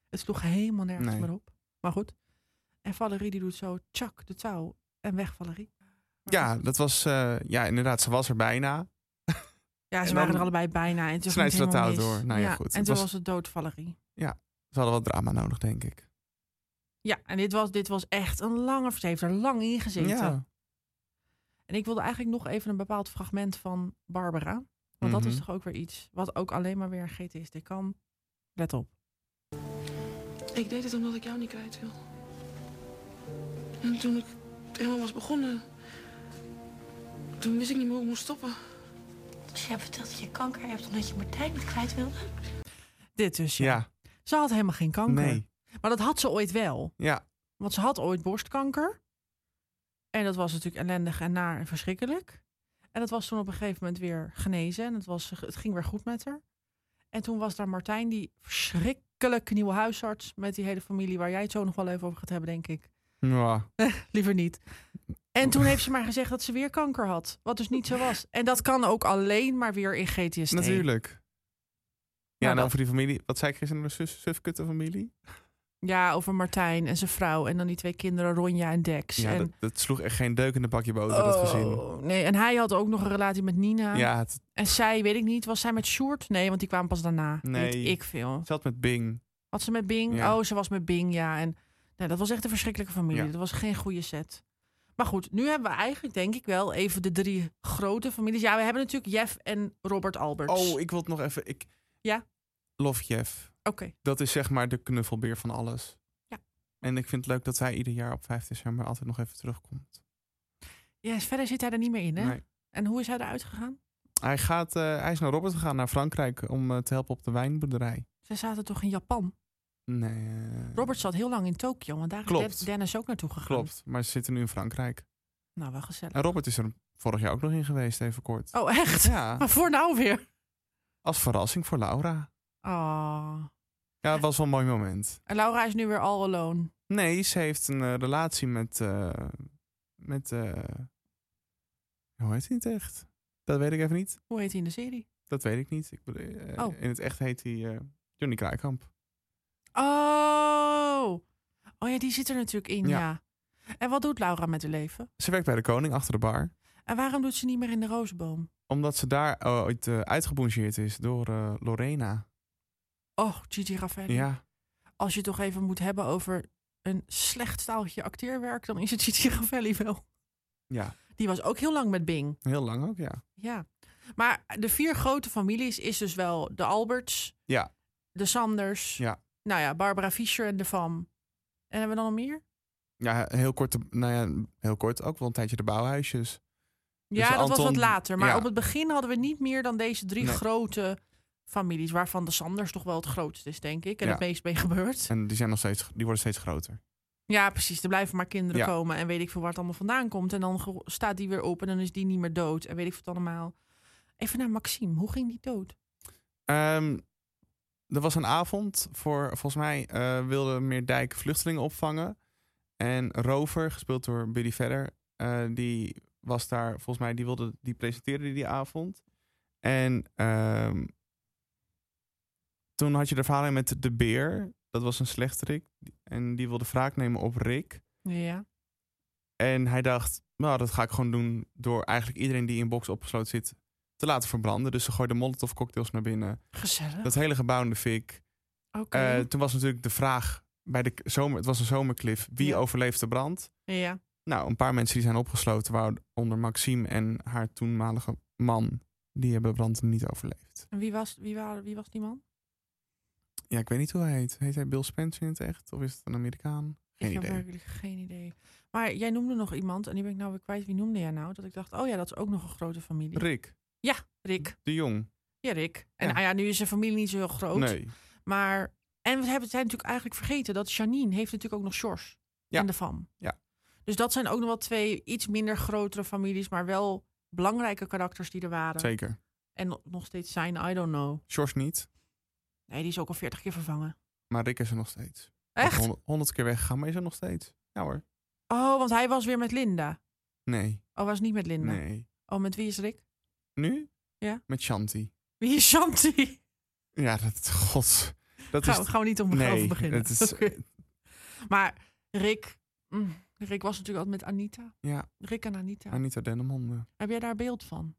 Speaker 2: Het sloeg helemaal nergens
Speaker 1: Nee.
Speaker 2: meer op. Maar goed. En Valerie die doet zo, tjak, de touw. En weg Valerie.
Speaker 1: Ja, dat was, eh, ja, inderdaad, ze was er bijna.
Speaker 2: Ja,
Speaker 1: En
Speaker 2: ze
Speaker 1: dan
Speaker 2: waren er allebei bijna. En toen
Speaker 1: snijdt
Speaker 2: ging
Speaker 1: ze dat
Speaker 2: helemaal
Speaker 1: touw
Speaker 2: mis.
Speaker 1: door. Nou ja, goed.
Speaker 2: En
Speaker 1: Het
Speaker 2: toen
Speaker 1: was-
Speaker 2: was het dood Valerie.
Speaker 1: Ze hadden wat drama nodig, denk ik.
Speaker 2: Ja, en dit was, dit was echt een lange... Ze heeft er lang in gezeten.
Speaker 1: Ja.
Speaker 2: En ik wilde eigenlijk nog even een bepaald fragment van Barbara. Want dat is
Speaker 1: Mhm.
Speaker 2: toch ook weer iets wat ook alleen maar weer een GTSD kan. Let op.
Speaker 11: Ik deed het omdat ik jou niet kwijt wil. En toen ik helemaal was begonnen, toen wist ik niet meer hoe ik moest stoppen.
Speaker 10: Dus jij vertelt dat je kanker hebt omdat je Martijn niet kwijt wilde?
Speaker 2: Dit dus, ja.
Speaker 1: Ja.
Speaker 2: Ze had helemaal geen kanker.
Speaker 1: Nee.
Speaker 2: Maar dat had ze ooit wel.
Speaker 1: Ja.
Speaker 2: Want ze had ooit borstkanker. En dat was natuurlijk ellendig en naar en verschrikkelijk. En dat was toen op een gegeven moment weer genezen. En het, was, het ging weer goed met haar. En toen was daar Martijn, die verschrikkelijke nieuwe huisarts... met die hele familie waar jij het zo nog wel even over gaat hebben, denk ik.
Speaker 1: Ja.
Speaker 2: Liever niet. En toen heeft ze maar gezegd dat ze weer kanker had. Wat dus niet zo was. En dat kan ook alleen maar weer in GTSD.
Speaker 1: Natuurlijk. Ja, en
Speaker 2: dat-
Speaker 1: over die familie. Wat zei ik gisteren? Een zus, sufkutte familie?
Speaker 2: Ja, over Martijn en zijn vrouw. En dan die twee kinderen, Ronja en Dex.
Speaker 1: Ja,
Speaker 2: en...
Speaker 1: dat, dat sloeg echt geen deuk in de pakje boter, dat gezin.
Speaker 2: Oh, nee, en hij had ook nog een relatie met Nina.
Speaker 1: Ja, het-
Speaker 2: En zij, weet ik niet, was zij met Sjoerd? Nee, want die kwamen pas daarna.
Speaker 1: nee.
Speaker 2: Weet ik veel.
Speaker 1: Ze had met Bing.
Speaker 2: Had ze met Bing?
Speaker 1: Ja.
Speaker 2: Oh, ze was met Bing, ja. En nou, dat was echt een verschrikkelijke familie.
Speaker 1: Ja.
Speaker 2: Dat was geen goede set. Maar goed, nu hebben we eigenlijk, denk ik wel, even de drie grote families. Ja, we hebben natuurlijk Jeff en Robert Alberts.
Speaker 1: Oh, ik wil het nog even. Ik...
Speaker 2: Ja?
Speaker 1: Love Jeff.
Speaker 2: Oké.
Speaker 1: Dat is zeg maar de knuffelbeer van alles.
Speaker 2: Ja.
Speaker 1: En ik vind het leuk dat hij ieder jaar op 5 december altijd nog even terugkomt.
Speaker 2: Ja, verder zit hij er niet meer in, hè?
Speaker 1: Nee.
Speaker 2: En hoe is hij eruit gegaan?
Speaker 1: Hij, gaat, eh, hij is naar Robert gegaan, naar Frankrijk, om eh, te helpen op de wijnboerderij.
Speaker 2: Ze zaten toch in Japan?
Speaker 1: Nee. eh,
Speaker 2: Robert zat heel lang in Tokio, want daar is
Speaker 1: Klopt.
Speaker 2: Den- Dennis ook naartoe gegaan.
Speaker 1: Klopt, maar ze zitten nu in Frankrijk.
Speaker 2: Nou, wel gezellig.
Speaker 1: En Robert is er vorig jaar ook nog in geweest, even kort.
Speaker 2: Oh, echt?
Speaker 1: Ja.
Speaker 2: (laughs) Maar voor nou weer?
Speaker 1: Als verrassing voor Laura.
Speaker 2: Oh.
Speaker 1: Ja, het was wel een mooi moment.
Speaker 2: En Laura is nu weer all alone.
Speaker 1: Nee, ze heeft een eh, relatie met. eh, met. eh, hoe heet hij het echt? Dat weet ik even niet.
Speaker 2: Hoe heet hij in de serie?
Speaker 1: Dat weet ik niet. Ik, bedoel, eh,
Speaker 2: Oh.
Speaker 1: In het echt heet hij eh, Johnny Kraaikamp.
Speaker 2: Oh. Oh ja, die zit er natuurlijk in, ja.
Speaker 1: Ja.
Speaker 2: En wat doet Laura met haar leven?
Speaker 1: Ze werkt bij de koning achter de bar.
Speaker 2: En waarom doet ze niet meer in de roosboom?
Speaker 1: Omdat ze daar eh, ooit eh, uitgebongeerd is door eh, Lorena.
Speaker 2: Oh, Gigi Raffaelli.
Speaker 1: Ja.
Speaker 2: Als je het toch even moet hebben over een slecht staaltje acteerwerk, dan is het Gigi Raffaelli wel.
Speaker 1: ja,
Speaker 2: Die was ook heel lang met Bing.
Speaker 1: heel lang ook, ja.
Speaker 2: Ja. Maar de vier grote families is dus wel de Alberts,
Speaker 1: Ja,
Speaker 2: de Sanders,
Speaker 1: ja.
Speaker 2: nou ja, Barbara Fischer en de Vam. En hebben we dan nog meer?
Speaker 1: Ja, heel kort, de- nou ja, heel kort ook wel een tijdje de bouwhuisjes. Dus
Speaker 2: Ja, dat was wat
Speaker 1: Anton-
Speaker 2: later. Maar
Speaker 1: ja.
Speaker 2: op het begin hadden we niet meer dan deze drie
Speaker 1: Nee.
Speaker 2: grote families. Waarvan de Sanders toch wel het grootste is, denk ik. En
Speaker 1: Ja.
Speaker 2: het meest mee gebeurt.
Speaker 1: En die, zijn nog steeds, die worden steeds groter.
Speaker 2: Ja, precies. Er blijven maar kinderen
Speaker 1: Ja.
Speaker 2: komen. En weet ik veel waar het allemaal vandaan komt. En dan ge- staat die weer op en dan is die niet meer dood. En weet ik veel wat allemaal. Even naar Maxime. Hoe ging die dood?
Speaker 1: Ehm, er was een avond voor, volgens mij eh, wilde Meerdijk vluchtelingen opvangen. En Rover, gespeeld door Billy Vedder, eh, die was daar, volgens mij, die wilde, die presenteerde die avond. En ehm, toen had je de verhaling met de beer. Dat was een slechterik. En die wilde wraak nemen op Rick.
Speaker 2: Ja.
Speaker 1: En hij dacht, nou, dat ga ik gewoon doen door eigenlijk iedereen die in een box opgesloten zit te laten verbranden. Dus ze gooiden molotov cocktails naar binnen.
Speaker 2: Gezellig.
Speaker 1: Dat hele gebouw in de fik.
Speaker 2: Oké.
Speaker 1: Eh, toen was natuurlijk de vraag bij de k- zomer, het was een zomerklif, wie
Speaker 2: Ja.
Speaker 1: overleeft de brand?
Speaker 2: ja.
Speaker 1: Nou, een paar mensen die zijn opgesloten, waaronder Maxime en haar toenmalige man, die hebben de brand niet overleefd.
Speaker 2: En wie was, wie, waren, wie was die man?
Speaker 1: Ja, ik weet niet hoe hij heet. Heet hij Bill Spencer in het echt? Of is het een Amerikaan? Geen
Speaker 2: ik
Speaker 1: idee.
Speaker 2: heb werkelijk geen idee. Maar jij noemde nog iemand, en die ben ik nou weer kwijt. Wie noemde jij nou? Dat ik dacht, oh ja, dat is ook nog een grote familie.
Speaker 1: Rick
Speaker 2: Ja, Rick.
Speaker 1: de Jong.
Speaker 2: Ja, Rick. En
Speaker 1: Ja.
Speaker 2: nou ja, nu is zijn familie niet zo heel groot.
Speaker 1: Nee.
Speaker 2: Maar, en we hebben, zijn natuurlijk eigenlijk vergeten dat Janine heeft natuurlijk ook nog Sjors
Speaker 1: Ja.
Speaker 2: en de Fam.
Speaker 1: Ja.
Speaker 2: Dus dat zijn ook nog wel twee iets minder grotere families, maar wel belangrijke karakters die er waren.
Speaker 1: Zeker.
Speaker 2: En no- nog steeds zijn, I don't know.
Speaker 1: George niet,
Speaker 2: Nee, die is ook al 40 keer vervangen.
Speaker 1: maar Rick is er nog steeds.
Speaker 2: Echt?
Speaker 1: Honderd, honderd keer weggegaan, maar is er nog steeds. Ja hoor.
Speaker 2: Oh, want hij was weer met Linda.
Speaker 1: Nee,
Speaker 2: Oh, was niet met Linda.
Speaker 1: nee.
Speaker 2: Oh, met wie is Rick?
Speaker 1: Nu?
Speaker 2: Ja.
Speaker 1: Met Shanti.
Speaker 2: Wie is Shanti?
Speaker 1: Ja, dat, (laughs) god. Dat
Speaker 2: Gaan,
Speaker 1: is,
Speaker 2: gaan we niet om
Speaker 1: nee,
Speaker 2: over beginnen.
Speaker 1: Het is,
Speaker 2: (laughs) Oké. Maar Rick, mm, Rick was natuurlijk altijd met Anita.
Speaker 1: Ja,
Speaker 2: Rick en Anita.
Speaker 1: Anita Dennemonde.
Speaker 2: Heb jij daar beeld van?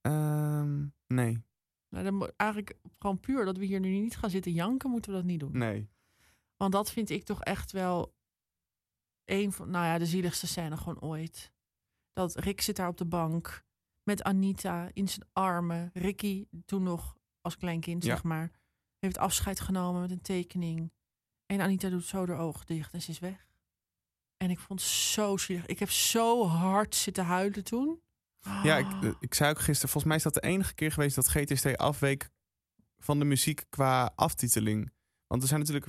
Speaker 1: Ehm, nee,
Speaker 2: Nou, dan, mo- eigenlijk gewoon puur dat we hier nu niet gaan zitten janken, moeten we dat niet doen.
Speaker 1: nee.
Speaker 2: Want dat vind ik toch echt wel een van, nou ja, de zieligste scène gewoon ooit. Dat Rick zit daar op de bank met Anita in zijn armen. Ricky, toen nog als klein kind,
Speaker 1: Ja.
Speaker 2: zeg maar, heeft afscheid genomen met een tekening. En Anita doet zo haar ogen dicht en ze is weg. En ik vond het zo zielig. Ik heb zo hard zitten huilen toen. Ah.
Speaker 1: Ja, ik, eh, ik zei ook gisteren, volgens mij is dat de enige keer geweest dat GTSD afweek van de muziek qua aftiteling. Want er zijn natuurlijk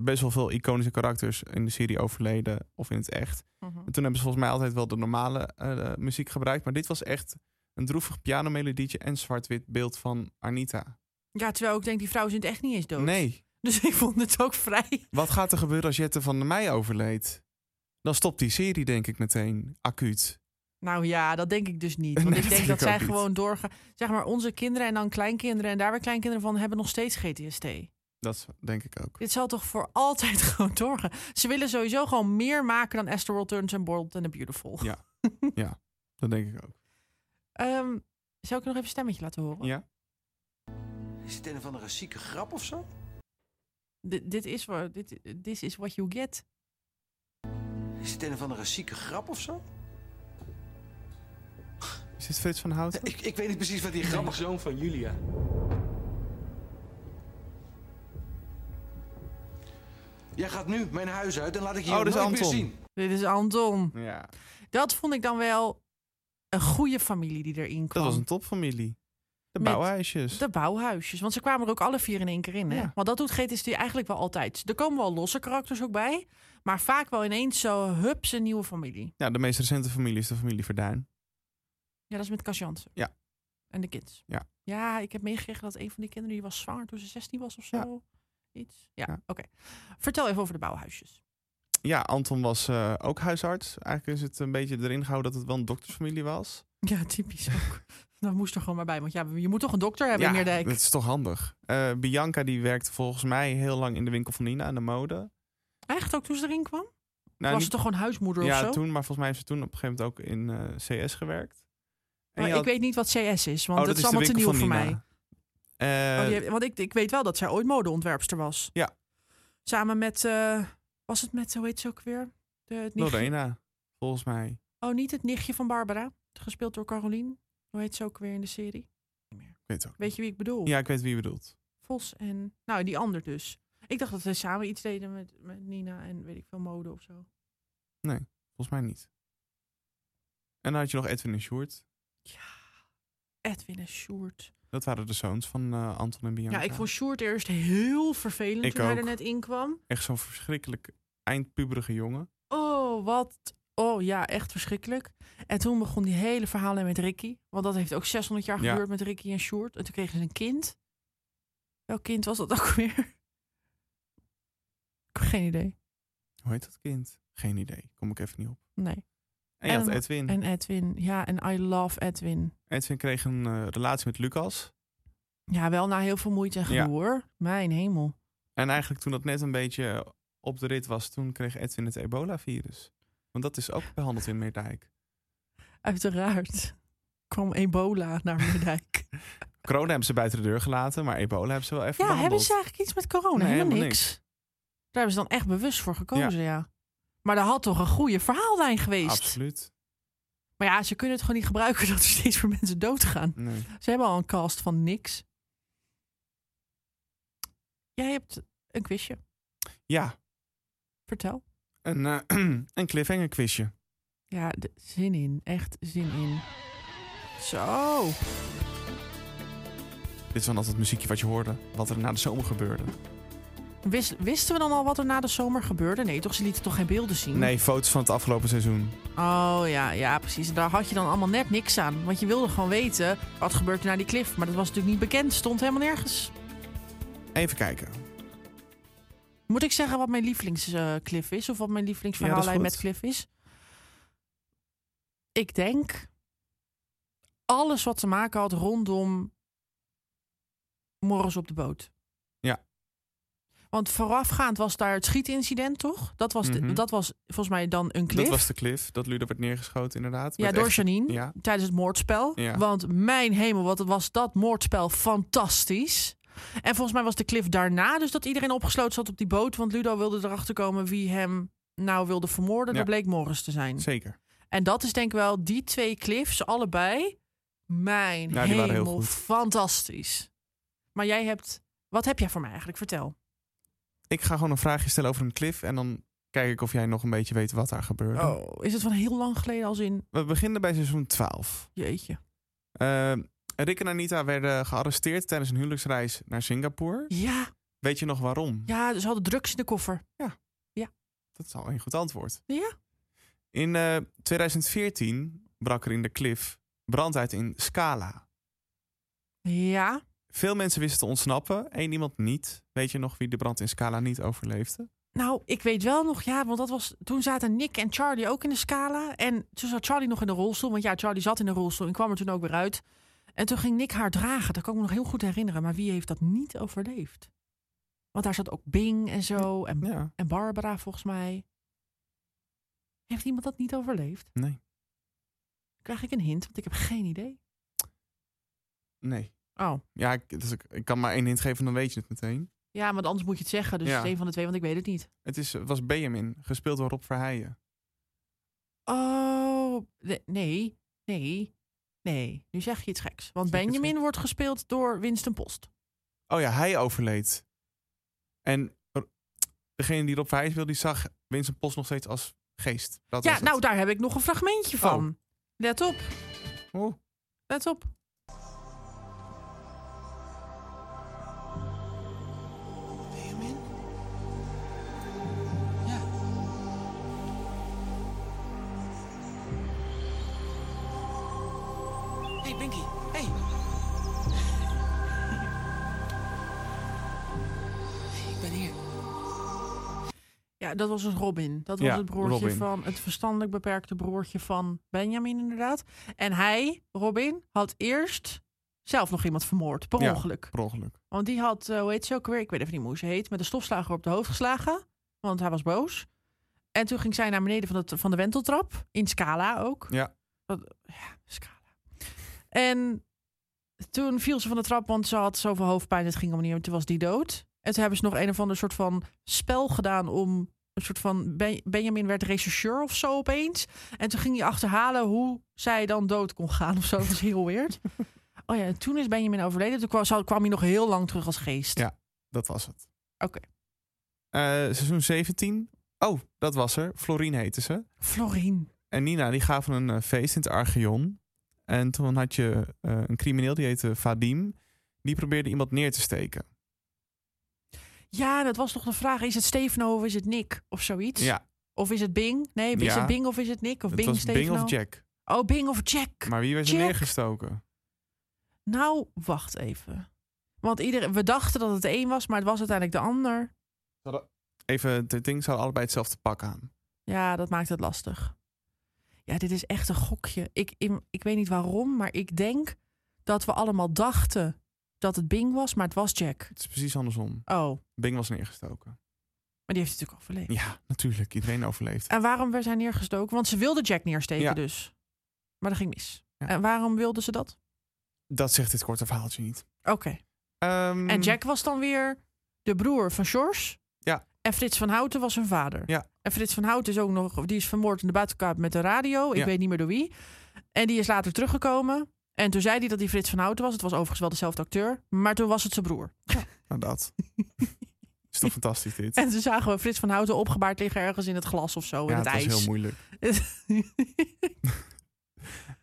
Speaker 1: best wel veel iconische karakters in de serie overleden of in het echt.
Speaker 2: Mhm.
Speaker 1: En toen hebben ze volgens mij altijd wel de normale eh, muziek gebruikt. Maar dit was echt een droevig pianomelodietje en zwart-wit beeld van Anita.
Speaker 2: Ja, terwijl ik denk, die vrouw is in het echt niet eens dood.
Speaker 1: Nee,
Speaker 2: Dus (laughs) ik vond het ook vrij.
Speaker 1: wat gaat er gebeuren als Jette van der Meij overleed? Dan stopt die serie denk ik meteen, acuut.
Speaker 2: Nou ja, dat denk ik dus niet.
Speaker 1: Nee,
Speaker 2: Want ik
Speaker 1: dat
Speaker 2: denk
Speaker 1: denk
Speaker 2: dat
Speaker 1: ik
Speaker 2: zij
Speaker 1: ook niet.
Speaker 2: gewoon doorgaan. Zeg maar, onze kinderen en dan kleinkinderen en daar weer kleinkinderen van hebben nog steeds GTSD.
Speaker 1: Dat is- denk ik ook.
Speaker 2: Dit zal toch voor altijd (laughs) gewoon doorgaan. Ze willen sowieso gewoon meer maken dan Astroworld Turns and Bold and the Beautiful.
Speaker 1: Ja. Ja, dat denk ik ook.
Speaker 2: Ehm, zou ik nog even een stemmetje laten horen?
Speaker 1: Ja.
Speaker 13: Is het een of andere zieke grap of zo?
Speaker 2: Dit- dit is wa- dit this is what you get.
Speaker 13: Is het een of andere zieke grap of zo?
Speaker 1: Is dit Frits van Houten?
Speaker 13: Ik, ik weet niet precies wat die grap is. zoon van Julia. Jij gaat nu mijn huis uit en laat ik je
Speaker 1: Oh, dat
Speaker 13: nooit
Speaker 1: is
Speaker 13: meer
Speaker 1: Anton.
Speaker 13: zien.
Speaker 2: Dit is Anton.
Speaker 1: Ja.
Speaker 2: Dat vond ik dan wel een goede familie die erin kwam.
Speaker 1: Dat was een topfamilie. De
Speaker 2: Met
Speaker 1: bouwhuisjes.
Speaker 2: De bouwhuisjes. Want ze kwamen er ook alle vier in één keer in. Hè?
Speaker 1: Ja.
Speaker 2: Want dat doet GTSD eigenlijk wel altijd. Er komen wel losse karakters ook bij. Maar vaak wel ineens zo hups een nieuwe familie.
Speaker 1: Ja, de meest recente familie is de familie Verduin.
Speaker 2: Ja, dat is met Kasjantse.
Speaker 1: Ja.
Speaker 2: En de kids.
Speaker 1: Ja.
Speaker 2: Ja, ik heb meegekregen dat een van die kinderen die was zwanger toen ze 16 was of zo. Iets. Ja, oké. Vertel even over de
Speaker 1: (laughs)
Speaker 2: bouwhuisjes.
Speaker 1: Ja, Anton was eh, ook huisarts. Eigenlijk is het een beetje erin gehouden dat het wel een doktersfamilie was.
Speaker 2: Ja, typisch ook. (laughs) dat moest er gewoon maar bij. Want ja, je moet toch een dokter hebben in Meerdijk.
Speaker 1: dat is toch handig. Eh, Bianca die werkte volgens mij heel lang in de winkel van Nina, in de mode.
Speaker 2: Echt ook toen ze erin kwam?
Speaker 1: Nou,
Speaker 2: was
Speaker 1: niet-
Speaker 2: ze toch gewoon huismoeder
Speaker 1: ja,
Speaker 2: of zo?
Speaker 1: toen, maar volgens mij heeft ze toen op een gegeven moment ook in eh, CS gewerkt. En je
Speaker 2: Maar ik
Speaker 1: had-
Speaker 2: weet niet wat CS is, want
Speaker 1: Oh, dat
Speaker 2: dat, is
Speaker 1: is de
Speaker 2: allemaal te
Speaker 1: winkel
Speaker 2: nieuw
Speaker 1: van
Speaker 2: voor
Speaker 1: Nina.
Speaker 2: mij.
Speaker 1: Eh,
Speaker 2: Oh, die heeft- want ik, ik weet wel dat zij ooit modeontwerpster was.
Speaker 1: Ja.
Speaker 2: Samen met, eh, was het met, hoe heet ze ook weer? De, het nichtje-
Speaker 1: Eh, Lorena, volgens mij.
Speaker 2: Oh, niet het nichtje van Barbara. Gespeeld door Caroline. Hoe heet ze ook weer in de serie?
Speaker 1: Ik weet het ook.
Speaker 2: Weet je wie ik bedoel?
Speaker 1: Ja, ik weet wie je bedoelt.
Speaker 2: Vos en, nou die ander dus. Ik dacht dat ze samen iets deden met, met Nina en weet ik veel, mode of zo.
Speaker 1: Nee, volgens mij niet. En dan had je nog Edwin en Sjoerd.
Speaker 2: Edwin en Sjoerd.
Speaker 1: Dat waren de zoons van eh, Anton en
Speaker 2: Ja,
Speaker 1: Bianca.
Speaker 2: ik vond Sjoerd eerst heel vervelend
Speaker 1: Ik
Speaker 2: toen hij er
Speaker 1: ook.
Speaker 2: net in kwam.
Speaker 1: Echt zo'n verschrikkelijk eindpuberige jongen.
Speaker 2: Oh, wat. Oh ja, echt verschrikkelijk. En toen begon die hele verhalen met Ricky. Want dat heeft ook 600 jaar
Speaker 1: Ja.
Speaker 2: geduurd met Ricky en Sjoerd. En toen kregen ze een kind. Welk kind was dat ook (laughs) weer? Ik heb geen idee.
Speaker 1: Hoe heet dat kind? Geen idee. Kom ik even niet op.
Speaker 2: Nee.
Speaker 1: En je had Edwin.
Speaker 2: En Edwin. Ja, en I love Edwin.
Speaker 1: Edwin kreeg een eh, relatie met Lucas.
Speaker 2: Ja, wel na heel veel moeite en gedoe
Speaker 1: Ja.
Speaker 2: hoor. Mijn hemel.
Speaker 1: En eigenlijk toen dat net een beetje op de rit was, toen kreeg Edwin het ebola-virus. Want dat is ook behandeld in Meerdijk.
Speaker 2: Uiteraard (laughs) kwam ebola naar Meerdijk.
Speaker 1: Corona hebben ze buiten de deur gelaten, maar ebola hebben ze wel even
Speaker 2: ja,
Speaker 1: behandeld.
Speaker 2: hebben ze eigenlijk iets met corona?
Speaker 1: Nee,
Speaker 2: helemaal
Speaker 1: helemaal
Speaker 2: niks. Daar hebben ze dan echt bewust voor gekozen, ja. Maar er had toch een goede verhaallijn geweest.
Speaker 1: Absoluut.
Speaker 2: Maar ja, ze kunnen het gewoon niet gebruiken (laughs) dat er steeds meer mensen doodgaan.
Speaker 1: Nee.
Speaker 2: Ze hebben al een cast van niks. Jij hebt een quizje.
Speaker 1: Ja.
Speaker 2: Vertel.
Speaker 1: Een, eh, (clears throat) een cliffhanger quizje.
Speaker 2: Ja, de- zin in. Echt zin in. Zo.
Speaker 1: Dit is dan altijd het muziekje wat je hoorde, wat er na de zomer gebeurde.
Speaker 2: Mm. Wist- wisten we dan al wat er na de zomer gebeurde? Nee, toch? Ze lieten toch geen beelden zien?
Speaker 1: Nee, foto's van het afgelopen seizoen.
Speaker 2: Oh ja, ja, precies. Daar had je dan allemaal net niks aan. Want je wilde gewoon weten wat gebeurt er na die cliff. Maar dat was natuurlijk niet bekend. Stond helemaal nergens.
Speaker 1: Even kijken.
Speaker 2: Moet ik zeggen wat mijn lievelingscliff is? Of wat mijn lievelingsverhaallijn
Speaker 1: Ja, dat
Speaker 2: met
Speaker 1: is
Speaker 2: Cliff is? Ik denk alles wat te maken had rondom Morris op de boot.
Speaker 1: Ja.
Speaker 2: Want voorafgaand was daar het schietincident, toch? Dat was, de-
Speaker 1: Mhm.
Speaker 2: dat was volgens mij dan een cliff.
Speaker 1: Dat was de cliff, dat Ludo werd neergeschoten inderdaad.
Speaker 2: Ja,
Speaker 1: Met
Speaker 2: door
Speaker 1: echt-
Speaker 2: Janine. Mm.
Speaker 1: Ja.
Speaker 2: Tijdens het moordspel.
Speaker 1: Ja.
Speaker 2: Want mijn hemel, wat was dat moordspel fantastisch. En volgens mij was de cliff daarna dus dat iedereen opgesloten zat op die boot. Want Ludo wilde erachter komen wie hem nou wilde vermoorden.
Speaker 1: Ja.
Speaker 2: Dat bleek Morris te zijn.
Speaker 1: Zeker.
Speaker 2: En dat is denk ik wel die twee cliffs allebei. Mijn
Speaker 1: Ja, die
Speaker 2: hemel,
Speaker 1: waren heel goed.
Speaker 2: fantastisch. Maar jij hebt... Wat heb jij voor mij eigenlijk? Vertel.
Speaker 1: Ik ga gewoon een vraagje stellen over een cliff en dan kijk ik of jij nog een beetje weet wat daar gebeurde.
Speaker 2: Oh, is het van heel lang geleden als in...
Speaker 1: We beginnen bij seizoen 12.
Speaker 2: Jeetje.
Speaker 1: Eh, Rick en Anita werden gearresteerd tijdens een huwelijksreis naar Singapore.
Speaker 2: Ja,
Speaker 1: Weet je nog waarom?
Speaker 2: ja, ze hadden drugs in de koffer.
Speaker 1: Dat is al een goed antwoord.
Speaker 2: Ja.
Speaker 1: In eh, 2014 brak er in de cliff brand uit in Scala.
Speaker 2: Ja.
Speaker 1: Veel mensen wisten te ontsnappen, één iemand niet. Weet je nog wie de brand in Scala niet overleefde?
Speaker 2: Nou, ik weet wel nog, ja, want dat was, toen zaten Nick en Charlie ook in de scala. En toen zat Charlie nog in de rolstoel, want ja, Charlie zat in de rolstoel en kwam er toen ook weer uit. En toen ging Nick haar dragen, dat kan ik me nog heel goed herinneren. Maar wie heeft dat niet overleefd? Want daar zat ook Bing en zo, en,
Speaker 1: Ja.
Speaker 2: en Barbara volgens mij. Heeft iemand dat niet overleefd?
Speaker 1: Nee.
Speaker 2: Krijg ik een hint, want ik heb geen idee.
Speaker 1: Nee.
Speaker 2: Oh,
Speaker 1: Ja, ik, dus ik, ik kan maar één hint geven, dan weet je het meteen.
Speaker 2: ja, want anders moet je het zeggen. Dus
Speaker 1: Ja.
Speaker 2: het is een van de twee, want ik weet het niet.
Speaker 1: Het is, was Benjamin, gespeeld door Rob Verheijen.
Speaker 2: Oh, nee, nee, nee, nee. Nu zeg je iets geks. Want
Speaker 1: Zeg iets
Speaker 2: Benjamin wordt gespeeld door Winston Post.
Speaker 1: Oh ja, hij overleed. En er- degene die Rob Verheijen speelde, die zag Winston Post nog steeds als geest. Dat Oh.
Speaker 2: ja,
Speaker 1: was het.
Speaker 2: nou daar heb ik nog een fragmentje van. Let op,
Speaker 1: Oeh.
Speaker 2: let op.
Speaker 13: Benjamin?
Speaker 3: Hé, hey, Binky. Hé. Hey.
Speaker 11: Ik ben hier.
Speaker 2: Ja, dat was dus Robin. Dat was
Speaker 1: Ja,
Speaker 2: het broertje
Speaker 1: Robin.
Speaker 2: van het verstandelijk beperkte broertje van Benjamin, inderdaad. En hij, Robin, had eerst zelf nog iemand vermoord, per
Speaker 1: Ja,
Speaker 2: ongeluk.
Speaker 1: per ongeluk.
Speaker 2: Want die had, eh, hoe heet ze ook weer? Ik weet even niet meer hoe ze heet. Met een stofslager op de hoofd geslagen. Want hij was boos. En toen ging zij naar beneden van, het, van de wenteltrap. In Scala ook.
Speaker 1: Ja.
Speaker 2: Dat- ja, Scala. En toen viel ze van de trap, want ze had zoveel hoofdpijn. Het ging om niet. om. Toen was die dood. En toen hebben ze nog een of ander soort van spel gedaan om... Een soort van Ben- Benjamin werd rechercheur of zo opeens. En toen ging hij achterhalen hoe zij dan dood kon gaan of zo. Dat was heel weird. Oh ja, en toen is Benjamin overleden. Toen kwam, zou- kwam hij nog heel lang terug als geest.
Speaker 1: Ja, dat was het.
Speaker 2: Oké.
Speaker 1: Eh, seizoen 17. Oh, dat was er. Florien heette ze.
Speaker 2: Florien.
Speaker 1: En Nina, die gaven een eh, feest in het Archeon. En toen had je eh, een crimineel, die heette Vadim. Die probeerde iemand neer te steken.
Speaker 2: Ja, dat was toch de vraag. Is het Stefano of is het Nick of zoiets?
Speaker 1: Ja,
Speaker 2: Of is het Bing? Nee, is
Speaker 1: Ja.
Speaker 2: het Bing of is het Nick? Of
Speaker 1: het
Speaker 2: Bing
Speaker 1: was
Speaker 2: Stefano?
Speaker 1: Bing of Jack.
Speaker 2: Oh, Bing of Jack.
Speaker 1: Maar wie werd er
Speaker 2: Jack.
Speaker 1: neergestoken?
Speaker 2: Nou, wacht even. Want iedereen, we dachten dat het de een was, maar het was uiteindelijk de ander.
Speaker 1: Ze hadden- Even, de ding, ze hadden allebei hetzelfde pak aan.
Speaker 2: Ja, dat maakt het lastig. Ja, dit is echt een gokje. Ik, in- ik weet niet waarom, maar ik denk dat we allemaal dachten dat het Bing was, maar het was Jack.
Speaker 1: Het is precies andersom.
Speaker 2: Oh,
Speaker 1: Bing was neergestoken.
Speaker 2: maar die heeft het natuurlijk overleefd.
Speaker 1: Ja, natuurlijk. Iedereen overleeft.
Speaker 2: En waarom werd hij neergestoken? Want ze wilde Jack neersteken
Speaker 1: Ja.
Speaker 2: dus. Maar dat ging mis.
Speaker 1: Ja.
Speaker 2: En waarom wilde ze dat?
Speaker 1: Dat zegt dit korte verhaaltje niet.
Speaker 2: Oké.
Speaker 1: Ehm,
Speaker 2: En Jack was dan weer de broer van George.
Speaker 1: Ja.
Speaker 2: En Frits van Houten was hun vader.
Speaker 1: Ja.
Speaker 2: En Frits van Houten is ook nog, die is vermoord in de buitenkaap met de radio. Ik
Speaker 1: Ja.
Speaker 2: weet niet meer door wie. En die is later teruggekomen. En toen zei hij dat hij (laughs) Frits van Houten was. Het was overigens wel dezelfde acteur. Maar toen was het zijn broer.
Speaker 1: Nou, dat. nou, Is toch fantastisch
Speaker 2: (laughs)
Speaker 1: dit?
Speaker 2: (laughs) En toen zagen we Frits van Houten opgebaard liggen ergens in het glas of zo.
Speaker 1: ja,
Speaker 2: in het,
Speaker 1: het
Speaker 2: ijs.
Speaker 1: was heel
Speaker 2: (laughs)
Speaker 1: moeilijk.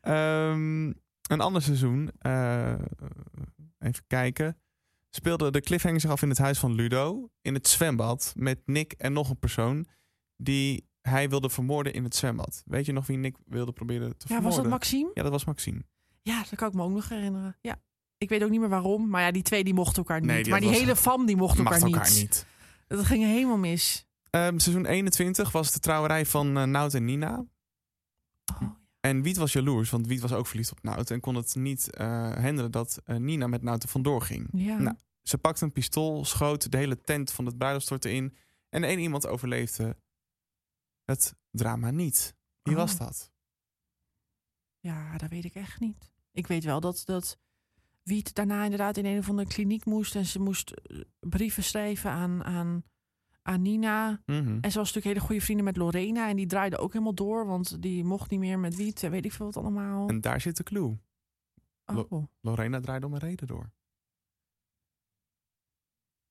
Speaker 1: Ehm, een ander seizoen, eh, even kijken, speelde de cliffhanger zich af in het huis van Ludo in het zwembad met Nick en nog een persoon die hij wilde vermoorden in het zwembad. Weet je nog wie Nick wilde proberen te
Speaker 2: ja,
Speaker 1: vermoorden?
Speaker 2: was dat Maxime?
Speaker 1: Ja, dat was Maxime.
Speaker 2: Ja, dat kan ik me ook nog herinneren. Ja. Ik weet ook niet meer waarom. Maar ja, die twee die mochten elkaar niet.
Speaker 1: Nee, die-
Speaker 2: maar
Speaker 1: dat
Speaker 2: die
Speaker 1: was-
Speaker 2: hele fam die mocht elkaar,
Speaker 1: Mag elkaar
Speaker 2: niet.
Speaker 1: niet.
Speaker 2: Dat ging helemaal mis.
Speaker 1: Ehm, seizoen 21 was de trouwerij van eh, Nout en Nina.
Speaker 2: Oh,
Speaker 1: En Wiet was jaloers, want Wiet was ook verliefd op Nout. En kon het niet eh hinderen dat eh, Nina met Nout er vandoor ging.
Speaker 2: Ja.
Speaker 1: Nou, ze pakte een pistool, schoot de hele tent van het bruiloft in. En één iemand overleefde het drama niet. Wie
Speaker 2: Oh.
Speaker 1: was dat?
Speaker 2: Ja, dat weet ik echt niet. Ik weet wel dat, dat Wiet daarna inderdaad in een of andere kliniek moest. En ze moest eh, brieven schrijven aan, aan, aan Nina.
Speaker 1: Mhm.
Speaker 2: En ze was natuurlijk hele goede vrienden met Lorena. En die draaide ook helemaal door, want die mocht niet meer met Wiet. En weet ik veel wat allemaal.
Speaker 1: En daar zit de clue. Lo-
Speaker 2: Oh.
Speaker 1: Lorena draaide om een reden door.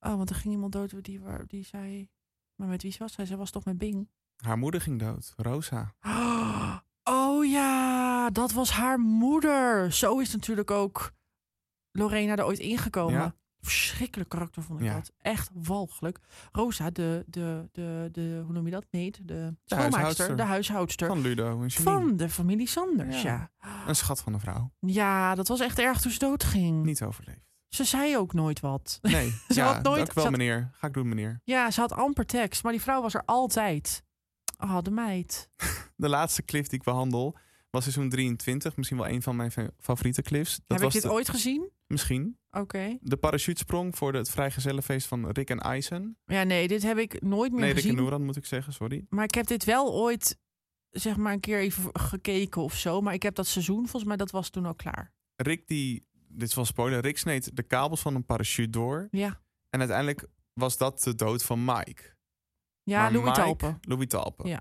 Speaker 2: Oh, want er ging iemand dood die, waar- die zei... Maar met wie ze was zij? Zij was toch met Bing?
Speaker 1: Haar moeder ging dood, Rosa.
Speaker 2: Oh ja, dat was haar moeder. Zo is natuurlijk ook Lorena er ooit ingekomen.
Speaker 1: Ja.
Speaker 2: Verschrikkelijk karakter vond ik
Speaker 1: Ja.
Speaker 2: dat. Echt walgelijk. Rosa, de, de, de, de, hoe noem je dat? Nee, de
Speaker 1: huishoudster.
Speaker 2: schoonmaakster, de huishoudster
Speaker 1: Van Ludo en Janine.
Speaker 2: van de familie Sanders. Ja.
Speaker 1: Een schat van een vrouw.
Speaker 2: ja. dat was echt erg toen ze doodging.
Speaker 1: Niet overleefd.
Speaker 2: Ze zei ook nooit wat.
Speaker 1: Nee,
Speaker 2: Hm. (laughs) Ze
Speaker 1: ja,
Speaker 2: had nooit-
Speaker 1: dank u wel
Speaker 2: ze had-
Speaker 1: meneer. Ga ik doen meneer.
Speaker 2: Ja, ze had amper tekst, maar die vrouw was er altijd. Ah, de meid.
Speaker 1: De laatste cliff die ik behandel was seizoen 23. Misschien wel een van mijn fa- favoriete cliffs. Dat
Speaker 2: Heb ik
Speaker 1: was
Speaker 2: dit
Speaker 1: de-
Speaker 2: ooit gezien?
Speaker 1: Misschien.
Speaker 2: Oké.
Speaker 1: De parachutesprong voor de, het vrijgezellenfeest van Rick en Eisen.
Speaker 2: Ja, nee, dit heb ik nooit meer
Speaker 1: Nee, Rick en
Speaker 2: gezien.
Speaker 1: Noran moet ik zeggen, sorry.
Speaker 2: Maar ik heb dit wel ooit, zeg maar, een keer even gekeken of zo. Maar ik heb dat seizoen, volgens mij, dat was toen al klaar.
Speaker 1: Rick die, dit is wel een spoiler, Rick sneed de kabels van een parachute door.
Speaker 2: Ja.
Speaker 1: En uiteindelijk was dat de dood van Mike.
Speaker 2: Ja,
Speaker 1: Maar
Speaker 2: Louis
Speaker 1: Mike-
Speaker 2: Talpen.
Speaker 1: Louis Talpen.
Speaker 2: Ja.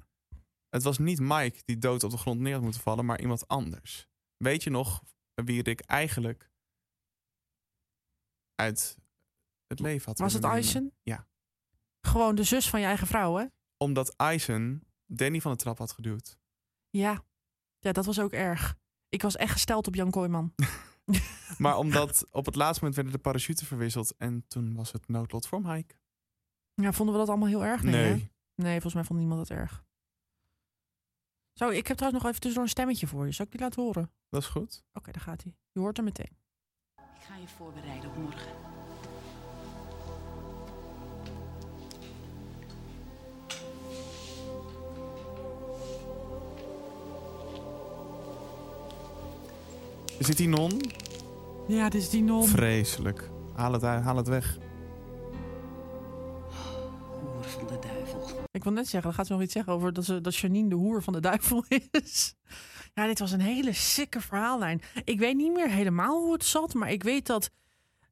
Speaker 1: Het was niet Mike die dood op de grond neer had moeten vallen, maar iemand anders. Weet je nog wie Rick eigenlijk uit het leven had
Speaker 2: Was
Speaker 1: willen
Speaker 2: het
Speaker 1: nemen?
Speaker 2: Eisen?
Speaker 1: Ja,
Speaker 2: Gewoon de zus van je eigen vrouw, hè?
Speaker 1: omdat Eisen Danny van de trap had geduwd.
Speaker 2: Ja. Ja, dat was ook erg. Ik was echt gesteld op Jan Kooijman.
Speaker 1: Maar
Speaker 2: (laughs)
Speaker 1: omdat op het laatste moment werden de parachutes verwisseld en toen was het noodlot voor Mike.
Speaker 2: Ja, vonden we dat allemaal heel erg? Nee.
Speaker 1: Nee.
Speaker 2: hè? nee, volgens mij vond niemand dat erg. Zo, ik heb trouwens nog even tussendoor een stemmetje voor je. Zal ik die laten horen? Oké,
Speaker 1: Dat is goed.
Speaker 2: daar gaat hij. Je hoort hem meteen.
Speaker 10: Ik ga je voorbereiden op morgen.
Speaker 1: Is dit die non?
Speaker 2: Ja, dit is die non.
Speaker 1: Vreselijk. Haal het, uit- haal het weg.
Speaker 10: Hoer van de duivel.
Speaker 2: Ik wil net zeggen, dan gaat ze nog iets zeggen over dat, ze, dat Janine de hoer van de duivel (laughs) is. Ja, dit was een hele sikke verhaallijn. Ik weet niet meer helemaal hoe het zat, maar ik weet dat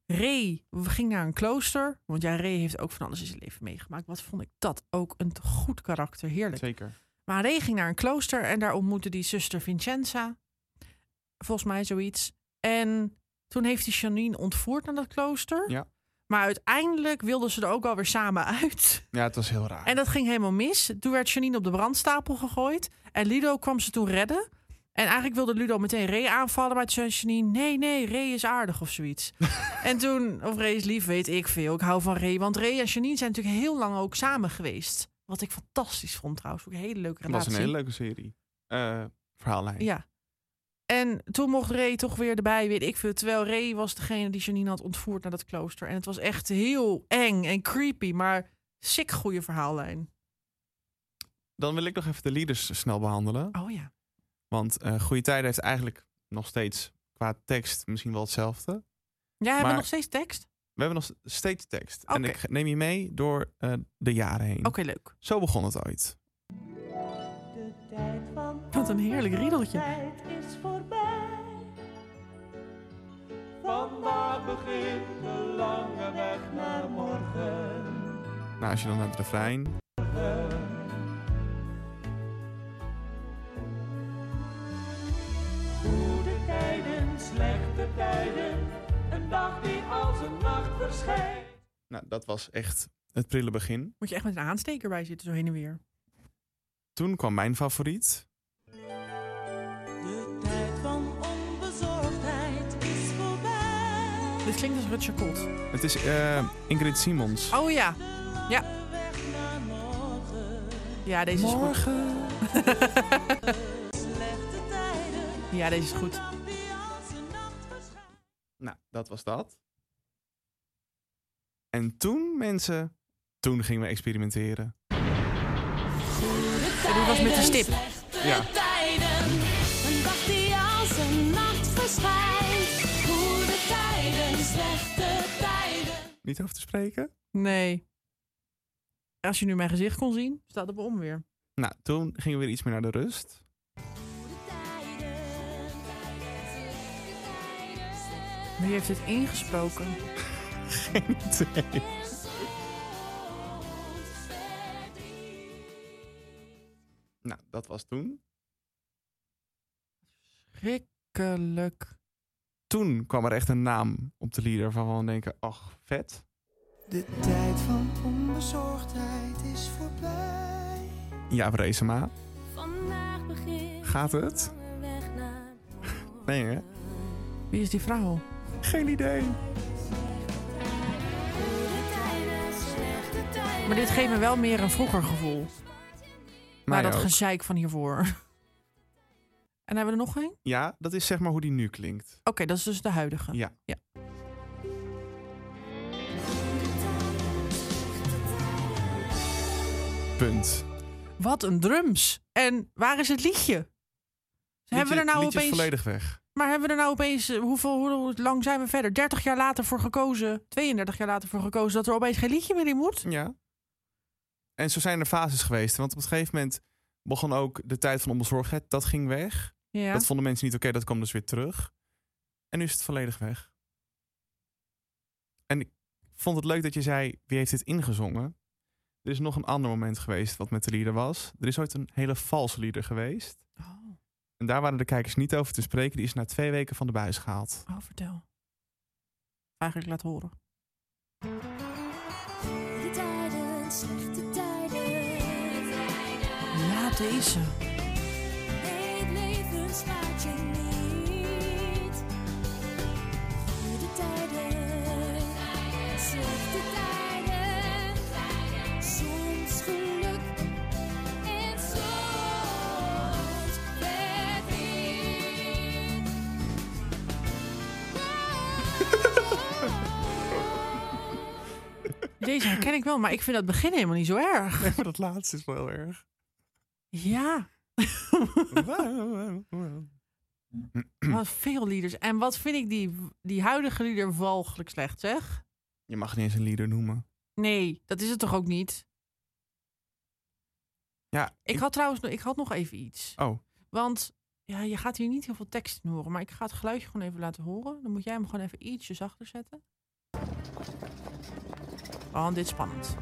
Speaker 2: Ray ging naar een klooster. Want ja, Ray heeft ook van alles in zijn leven meegemaakt. Wat vond ik dat ook een goed karakter, heerlijk.
Speaker 1: Zeker.
Speaker 2: Maar Ray ging naar een klooster en daar ontmoette die zuster Vincenza. Volgens mij zoiets. En toen heeft hij Janine ontvoerd naar dat klooster.
Speaker 1: Ja.
Speaker 2: Maar uiteindelijk wilden ze er ook alweer samen uit.
Speaker 1: Ja, het was heel raar.
Speaker 2: En dat ging helemaal mis. Toen werd Janine op de brandstapel gegooid. En Ludo kwam ze toen redden. En eigenlijk wilde Ludo meteen Ray aanvallen. Maar toen zei Janine, nee, nee, Ray is aardig of
Speaker 1: (laughs)
Speaker 2: zoiets. en toen, of Ray is lief, weet ik veel. Ik hou van Ray. Want Ray en Janine zijn natuurlijk heel lang ook samen geweest. Wat ik fantastisch vond trouwens. Ook een hele leuke
Speaker 1: Het
Speaker 2: relatie.
Speaker 1: was een hele leuke serie. Eh, verhaallijn.
Speaker 2: Ja. En toen mocht Ray toch weer erbij, weet ik veel. Terwijl Ray was degene die Janine had ontvoerd naar dat klooster. En het was echt heel eng en creepy. Maar sick goede verhaallijn.
Speaker 1: Dan wil ik nog even de leaders snel behandelen.
Speaker 2: Oh ja.
Speaker 1: Want eh Goede Tijden heeft eigenlijk nog steeds qua tekst misschien wel hetzelfde.
Speaker 2: Jij hebben
Speaker 1: Maar-
Speaker 2: we nog steeds tekst?
Speaker 1: We hebben nog steeds tekst. En
Speaker 2: Oké.
Speaker 1: ik neem je mee door eh, de jaren heen.
Speaker 2: Oké, leuk.
Speaker 1: Zo begon het ooit.
Speaker 2: Wat een heerlijk riedeltje.
Speaker 4: tijd is voorbij. Vandaag begint de lange weg naar morgen.
Speaker 1: Nou, als je dan naar het refrein.
Speaker 4: Goede tijden, slechte tijden. Een dag die als een nacht verschijnt.
Speaker 1: Nou, dat was echt het prille begin.
Speaker 2: Moet je echt met een aansteker bij zitten, zo heen en weer.
Speaker 1: Toen kwam mijn favoriet.
Speaker 14: De tijd van onbezorgdheid is voorbij.
Speaker 2: Dit klinkt als Rutger Kot.
Speaker 1: Het is eh, Ingrid Simons.
Speaker 2: Oh ja. Ja. Ja, deze is
Speaker 1: Morgen.
Speaker 2: goed. (laughs) ja, deze is goed.
Speaker 1: Nou, dat was dat. En toen, mensen, toen gingen we experimenteren.
Speaker 14: De
Speaker 2: En dit was met de stip.
Speaker 1: Ja.
Speaker 14: tijden, een dag die als een nacht verschijnt. Goede tijden, slechte tijden.
Speaker 1: Niet over te spreken.
Speaker 2: Nee. Als je nu mijn gezicht kon zien, staat het op onweer.
Speaker 1: Nou, toen gingen we weer iets meer naar de rust.
Speaker 2: Wie heeft dit ingesproken?
Speaker 1: Geen idee. Nou, dat was toen.
Speaker 2: Rikkelijk.
Speaker 1: Toen kwam er echt een naam op de lieder van we dan denken, ach, vet.
Speaker 14: De tijd van onbezorgdheid is voorbij.
Speaker 1: Ja, Bresema.
Speaker 14: Vandaag begint
Speaker 1: Gaat het?
Speaker 14: de weg naar
Speaker 1: Nee, hè?
Speaker 2: Wie is die vrouw?
Speaker 1: Geen idee.
Speaker 14: goede tijden, slechte tijden.
Speaker 2: Maar dit geeft me wel meer een vroeger gevoel.
Speaker 1: Mij
Speaker 2: Maar dat
Speaker 1: ook.
Speaker 2: gezeik van hiervoor. (laughs) En hebben we er nog een? Oké,
Speaker 1: Ja, dat is zeg maar hoe die nu klinkt.
Speaker 2: dat is dus de huidige.
Speaker 1: Ja.
Speaker 2: Ja.
Speaker 1: Punt.
Speaker 2: Wat een drums. En waar is het liedje? hebben we
Speaker 1: Liedje-
Speaker 2: er nou
Speaker 1: liedje is
Speaker 2: opeens...
Speaker 1: volledig weg.
Speaker 2: Maar hebben we er nou opeens... eh, Hoeveel, hoe, hoe lang zijn we verder? 30 jaar later voor gekozen. 32 jaar later voor gekozen. Dat er opeens geen liedje meer in moet?
Speaker 1: Ja. En zo zijn er fases geweest. Want op een gegeven moment begon ook de tijd van onbezorgdheid. Dat ging weg.
Speaker 2: Ja.
Speaker 1: Dat vonden mensen niet oké. dat kwam dus weer terug. En nu is het volledig weg. En ik vond het leuk dat je zei, wie heeft dit ingezongen? Er is nog een ander moment geweest wat met de lieder was. Er is ooit een hele valse lieder geweest.
Speaker 2: Oh,
Speaker 1: En daar waren de kijkers niet over te spreken. Die is na twee weken van de buis gehaald.
Speaker 2: oh, vertel. Eigenlijk laat horen.
Speaker 14: Goede tijden, slechte tijden.
Speaker 2: Ja, deze.
Speaker 14: Het leven spaart je niet. Goede tijden, slechte tijden. Soms geluk en soms verdriet.
Speaker 2: Deze herken ik wel, maar ik vind dat begin helemaal niet zo erg.
Speaker 1: (laughs) Nee, maar dat laatste is wel heel erg.
Speaker 2: Ja. Wat veel lieders. En wat vind ik die, die huidige lieder walgelijk slecht, zeg?
Speaker 1: Je mag niet eens een lieder noemen.
Speaker 2: Nee, dat is het toch ook niet?
Speaker 1: Ja,
Speaker 2: Ik had trouwens nog- ik had nog even iets.
Speaker 1: Oh,
Speaker 2: Want ja, je gaat hier niet heel veel tekst in horen. Maar ik ga het geluidje gewoon even laten horen. Dan moet jij hem gewoon even ietsje zachter zetten. Want dit is spannend.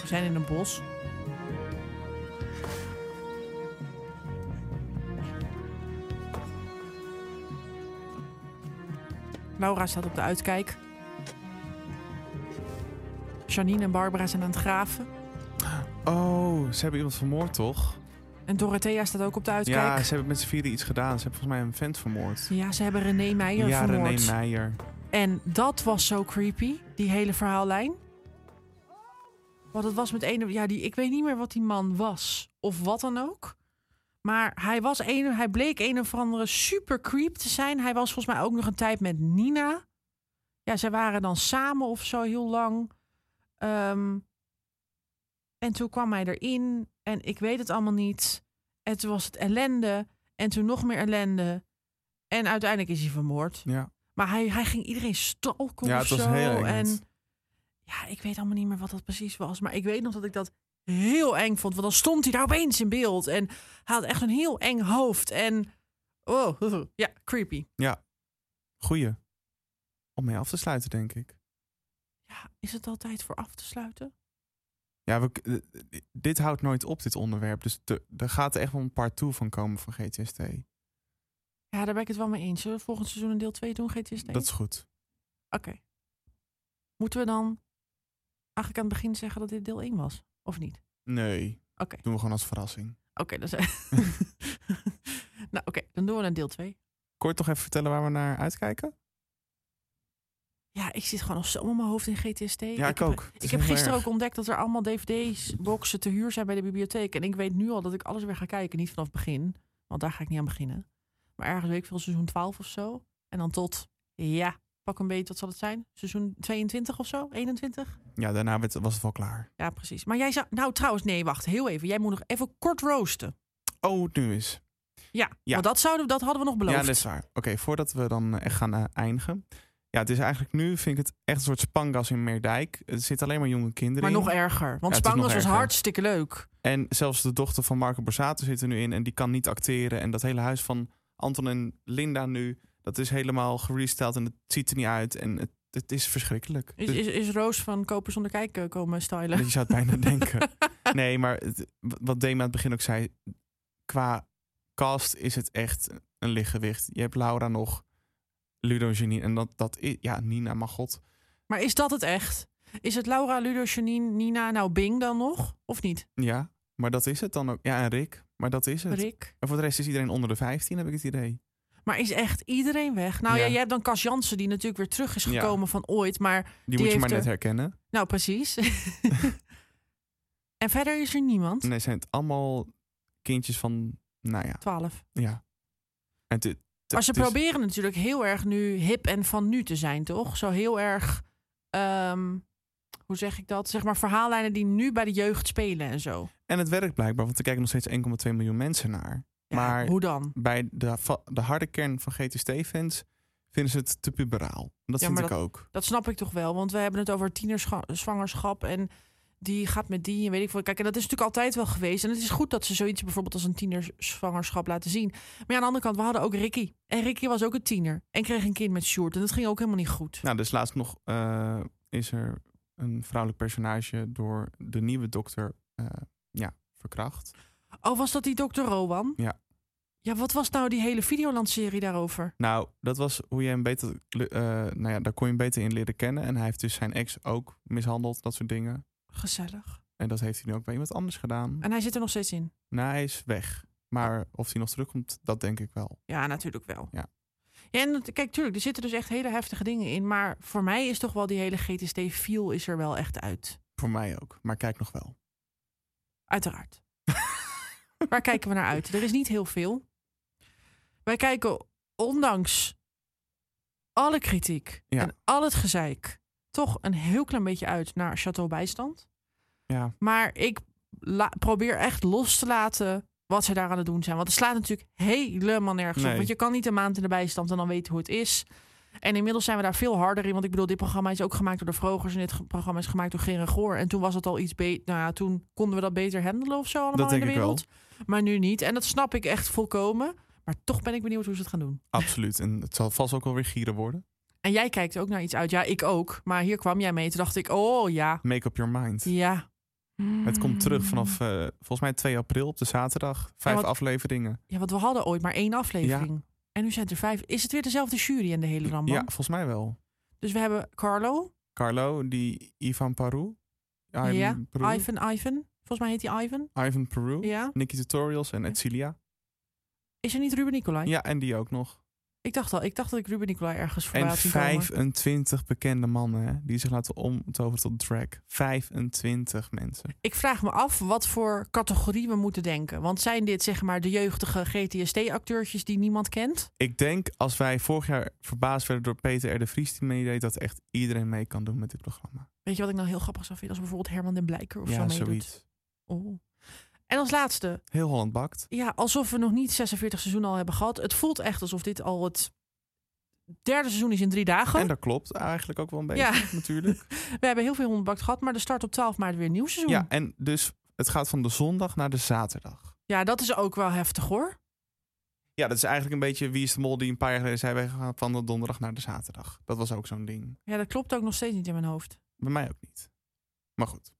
Speaker 2: We zijn in een bos. Laura staat op de uitkijk. Janine en Barbara zijn aan het graven.
Speaker 1: oh ze hebben iemand vermoord, toch?
Speaker 2: En Dorothea staat ook op de
Speaker 1: Ja,
Speaker 2: uitkijk.
Speaker 1: ze hebben met z'n vieren iets gedaan. Ze hebben volgens mij een vent vermoord.
Speaker 2: Ja, ze hebben René Meijer
Speaker 1: ja,
Speaker 2: vermoord.
Speaker 1: René Meijer.
Speaker 2: En dat was zo creepy, die hele verhaallijn. Want het was met een... Ja, die, ik weet niet meer wat die man was. Of wat dan ook. Maar hij, was een, hij bleek een of andere super creep te zijn. Hij was volgens mij ook nog een tijd met Nina. Ja, zij waren dan samen of zo heel lang. Ehm, en toen kwam hij erin. En ik weet het allemaal niet. En toen was het ellende. En toen nog meer ellende. En uiteindelijk is hij vermoord.
Speaker 1: Ja.
Speaker 2: Maar hij, hij ging iedereen stalken
Speaker 1: Ja,
Speaker 2: of
Speaker 1: het was
Speaker 2: zo.
Speaker 1: heel eng,
Speaker 2: en
Speaker 1: het.
Speaker 2: ja, ik weet allemaal niet meer wat dat precies was. Maar ik weet nog dat ik dat heel eng vond. Want dan stond hij daar opeens in beeld. En hij had echt een heel eng hoofd. En oh, (laughs) ja, creepy.
Speaker 1: Ja. Goeie. Om mee af te sluiten, denk ik.
Speaker 2: Ja, is het al tijd voor af te sluiten?
Speaker 1: Ja, we, eh, dit houdt nooit op, dit onderwerp. Dus te- er gaat echt wel een part toe van komen van GTST.
Speaker 2: Ja, daar ben ik het wel mee eens. Zullen we volgend seizoen een deel 2 doen, GTSD?
Speaker 1: Dat is goed.
Speaker 2: Oké. Moeten we dan eigenlijk aan het begin zeggen dat dit deel 1 was? Of niet?
Speaker 1: Nee.
Speaker 2: Oké.
Speaker 1: Doen we gewoon als verrassing.
Speaker 2: Oké, dan (laughs) zijn... Nou, oké. dan doen we een deel 2.
Speaker 1: Kort nog even vertellen waar we naar uitkijken?
Speaker 2: Ja, ik zit gewoon nog zo met mijn hoofd in GTSD.
Speaker 1: Ja, ik
Speaker 2: heb-
Speaker 1: ook. Het is
Speaker 2: Ik heb
Speaker 1: heel
Speaker 2: gisteren
Speaker 1: erg.
Speaker 2: ook ontdekt dat er allemaal dvd's-boxen te huur zijn bij de bibliotheek. En ik weet nu al dat ik alles weer ga kijken. Niet vanaf het begin, want daar ga ik niet aan beginnen. Maar ergens weet ik veel, seizoen 12 of zo. En dan tot, ja, pak een beetje, wat zal het zijn? Seizoen 22 of zo? 21?
Speaker 1: Ja, daarna werd- was het wel klaar.
Speaker 2: Ja, precies. Maar jij zou... Nou, trouwens, nee, wacht. Heel even. Jij moet nog even kort roosten.
Speaker 1: Oh, hoe het nu is.
Speaker 2: Ja,
Speaker 1: Ja.
Speaker 2: want dat, zouden, we- dat hadden we nog beloofd.
Speaker 1: Ja, dat is waar. Oké, voordat we dan eh, echt gaan eh, eindigen. Ja, het is eigenlijk nu, vind ik het echt een soort spangas in Meerdijk. Er zitten alleen maar jonge kinderen
Speaker 2: Maar
Speaker 1: in.
Speaker 2: nog erger. Want
Speaker 1: Ja, het is nog
Speaker 2: Spangas was
Speaker 1: erger.
Speaker 2: hartstikke leuk.
Speaker 1: En zelfs de dochter van Marco Borsato zit er nu in en die kan niet acteren. En dat hele huis van Anton en Linda nu, dat is helemaal gerestyled en het ziet er niet uit. En het, het is verschrikkelijk.
Speaker 2: Is,
Speaker 1: Dus-
Speaker 2: is, is Roos van Kopen zonder kijken komen stylen?
Speaker 1: Je zou het
Speaker 2: (laughs)
Speaker 1: bijna denken. Nee, maar het- wat Dema aan het begin ook zei, qua cast is het echt een lichtgewicht. Je hebt Laura nog, Ludo Janine en dat, dat is, ja, Nina, maar god.
Speaker 2: Maar is dat het echt? Is het Laura, Ludo, Janine, Nina, nou Bing dan nog? Of niet?
Speaker 1: Ja, maar dat is het dan ook. Ja, en Rick, maar dat is het.
Speaker 2: Rick.
Speaker 1: En voor de rest is iedereen onder de 15, heb ik het idee.
Speaker 2: Maar is echt iedereen weg? Nou ja,
Speaker 1: Ja.
Speaker 2: je hebt dan Cas Jansen die natuurlijk weer terug is
Speaker 1: Ja.
Speaker 2: gekomen van ooit. Maar die,
Speaker 1: Die, moet je
Speaker 2: heeft
Speaker 1: maar
Speaker 2: er-
Speaker 1: net herkennen.
Speaker 2: Nou,
Speaker 1: (laughs)
Speaker 2: precies. en verder is er niemand.
Speaker 1: Nee, zijn het allemaal kindjes van, nou ja.
Speaker 2: Twaalf.
Speaker 1: Ja. En het- het-
Speaker 2: Maar ze
Speaker 1: het is-
Speaker 2: proberen natuurlijk heel erg nu hip en van nu te zijn, toch? Zo heel erg, ehm, hoe zeg ik dat? Zeg maar verhaallijnen die nu bij de jeugd spelen en zo.
Speaker 1: En het werkt blijkbaar, want er kijken nog steeds 1,2 miljoen mensen naar. maar
Speaker 2: hoe dan?
Speaker 1: Bij de, va- de harde kern van GTST-fans vinden ze het te puberaal. Dat
Speaker 2: Ja,
Speaker 1: vind
Speaker 2: maar
Speaker 1: ik
Speaker 2: dat-
Speaker 1: ook.
Speaker 2: Dat snap ik toch wel, want we hebben het over tienerzwangerschap en die gaat met die en weet ik veel. Kijk, en dat is natuurlijk altijd wel geweest. En het is goed dat ze zoiets bijvoorbeeld als een tienerzwangerschap laten zien. Maar ja, aan de andere kant, we hadden ook Ricky. En Ricky was ook een tiener en kreeg een kind met Sjoerd. En dat ging ook helemaal niet goed.
Speaker 1: Nou, dus laatst nog eh, is er een vrouwelijk personage door de nieuwe dokter eh, ja, verkracht.
Speaker 2: Oh, was dat die dokter Rowan?
Speaker 1: Ja.
Speaker 2: Ja, wat was nou die hele Videoland-serie daarover?
Speaker 1: Nou, dat was hoe je hem beter, eh, nou ja, daar kon je hem beter in leren kennen. En hij heeft dus zijn ex ook mishandeld, dat soort dingen.
Speaker 2: Gezellig.
Speaker 1: En dat heeft hij nu ook bij iemand anders gedaan.
Speaker 2: En hij zit er nog steeds in.
Speaker 1: Nou, hij is weg. Maar
Speaker 2: Ah.
Speaker 1: of hij nog terugkomt, dat denk ik wel.
Speaker 2: Ja, natuurlijk wel.
Speaker 1: Ja.
Speaker 2: Ja, en dat- kijk, tuurlijk, er zitten dus echt hele heftige dingen in. Maar voor mij is toch wel die hele GTSD-feel is er wel echt uit.
Speaker 1: Voor mij ook. Maar kijk nog wel.
Speaker 2: Uiteraard. (laughs) Waar kijken we naar uit? Er is niet heel veel. Wij kijken, ondanks alle kritiek
Speaker 1: Ja.
Speaker 2: en al het gezeik, toch een heel klein beetje uit naar Chateau Bijstand.
Speaker 1: Ja.
Speaker 2: Maar ik la- probeer echt los te laten wat ze daar aan het doen zijn. Want het slaat natuurlijk helemaal nergens op.
Speaker 1: Nee.
Speaker 2: Want je kan niet een maand in de bijstand en dan weten hoe het is. En inmiddels zijn we daar veel harder in. Want ik bedoel, dit programma is ook gemaakt door de Vrogers. En dit ge- programma is gemaakt door Gerard Goor. En toen was het al iets beter. Nou ja, toen konden we dat beter handelen of zo allemaal
Speaker 1: Dat
Speaker 2: in de
Speaker 1: denk ik wel.
Speaker 2: wereld. Maar nu niet. En dat snap ik echt volkomen. Maar toch ben ik benieuwd hoe ze het gaan doen.
Speaker 1: Absoluut. En het zal vast ook wel weer gieren worden.
Speaker 2: En jij kijkt ook naar iets uit. Ja, ik ook. Maar hier kwam jij mee. Toen dacht ik, oh ja.
Speaker 1: Make up your mind.
Speaker 2: Ja. Mm.
Speaker 1: Het komt terug vanaf eh, volgens mij 2 april op de zaterdag. Vijf
Speaker 2: Ja, Oh, wat-
Speaker 1: afleveringen.
Speaker 2: Ja, want we hadden ooit maar één aflevering. En nu zijn het er vijf. Is het weer dezelfde jury en de hele rambam?
Speaker 1: Ja, volgens mij wel.
Speaker 2: Dus we hebben Carlo,
Speaker 1: Carlo, die Ivan Paru. Ivan
Speaker 2: ja,
Speaker 1: Paru.
Speaker 2: Ivan, Ivan. Volgens mij heet hij Ivan.
Speaker 1: Ivan Paru.
Speaker 2: Ja.
Speaker 1: Nicky Tutorials en Edcilia.
Speaker 2: Is er niet Ruben Nicolai?
Speaker 1: Ja, en die ook nog.
Speaker 2: Ik dacht al, ik dacht dat ik Ruben Nicolai ergens voorbij
Speaker 1: En
Speaker 2: had zien komen.
Speaker 1: 25 bekende mannen hè, die zich laten omtoveren tot drag. 25 mensen.
Speaker 2: Ik vraag me af wat voor categorie we moeten denken. Want zijn dit zeg maar de jeugdige GTSD-acteurtjes die niemand kent?
Speaker 1: Ik denk als wij vorig jaar verbaasd werden door Peter R. de Vries die meedeed, dat echt iedereen mee kan doen met dit programma.
Speaker 2: Weet je wat ik nou heel grappig zou vinden? Als bijvoorbeeld Herman den Blijker of zo
Speaker 1: ja,
Speaker 2: meedoet.
Speaker 1: zoiets.
Speaker 2: Oh. En als laatste,
Speaker 1: Heel Holland bakt.
Speaker 2: ja, alsof we nog niet 46 seizoenen al hebben gehad. Het voelt echt alsof dit al het derde seizoen is in drie dagen.
Speaker 1: En dat klopt eigenlijk ook wel een beetje,
Speaker 2: Ja.
Speaker 1: (laughs)
Speaker 2: (laughs)
Speaker 1: natuurlijk.
Speaker 2: We hebben heel veel honderdbakt gehad, maar de start op 12 maart weer een nieuw seizoen.
Speaker 1: Ja, en dus het gaat van de zondag naar de zaterdag.
Speaker 2: Ja, dat is ook wel heftig hoor.
Speaker 1: Ja, dat is eigenlijk een beetje wie is de mol die een paar jaar geleden zei... wij gaan van de donderdag naar de zaterdag. Dat was ook zo'n ding.
Speaker 2: Ja, dat klopt ook nog steeds niet in mijn hoofd.
Speaker 1: Bij mij ook niet. Maar goed.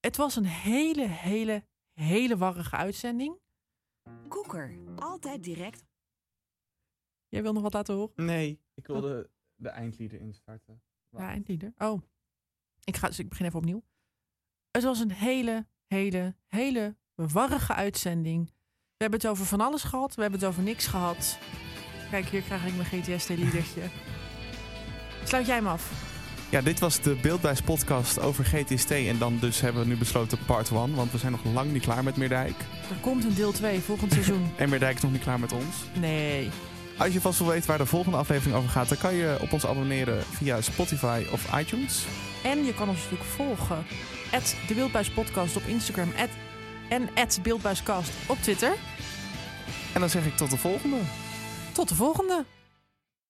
Speaker 2: Het was een hele, hele, hele warrige uitzending.
Speaker 15: Koeker, altijd direct.
Speaker 2: Jij wil nog wat laten horen?
Speaker 1: Nee, ik wilde de eindlieder instarten.
Speaker 2: Ja, eindlieder. Oh. Ik, ga, dus ik begin even opnieuw. Het was een hele, hele, hele warrige uitzending. We hebben het over van alles gehad. We hebben het over niks gehad. Kijk, hier krijg ik mijn GTST-liedertje. Sluit jij hem af.
Speaker 1: Ja, dit was de Beeldbuis podcast over GTST. En dan dus hebben we nu besloten part 1. Want we zijn nog lang niet klaar met Meerdijk.
Speaker 2: Er komt een deel 2 volgend seizoen.
Speaker 1: En Meerdijk is nog niet klaar met ons.
Speaker 2: Nee.
Speaker 1: Als je vast wil weten waar de volgende aflevering over gaat... dan kan je op ons abonneren via Spotify of iTunes.
Speaker 2: En je kan ons natuurlijk volgen. At de Beeldbuis podcast op Instagram. At, en at Beeldbuiscast op Twitter.
Speaker 1: En dan zeg ik tot de volgende.
Speaker 2: Tot de volgende.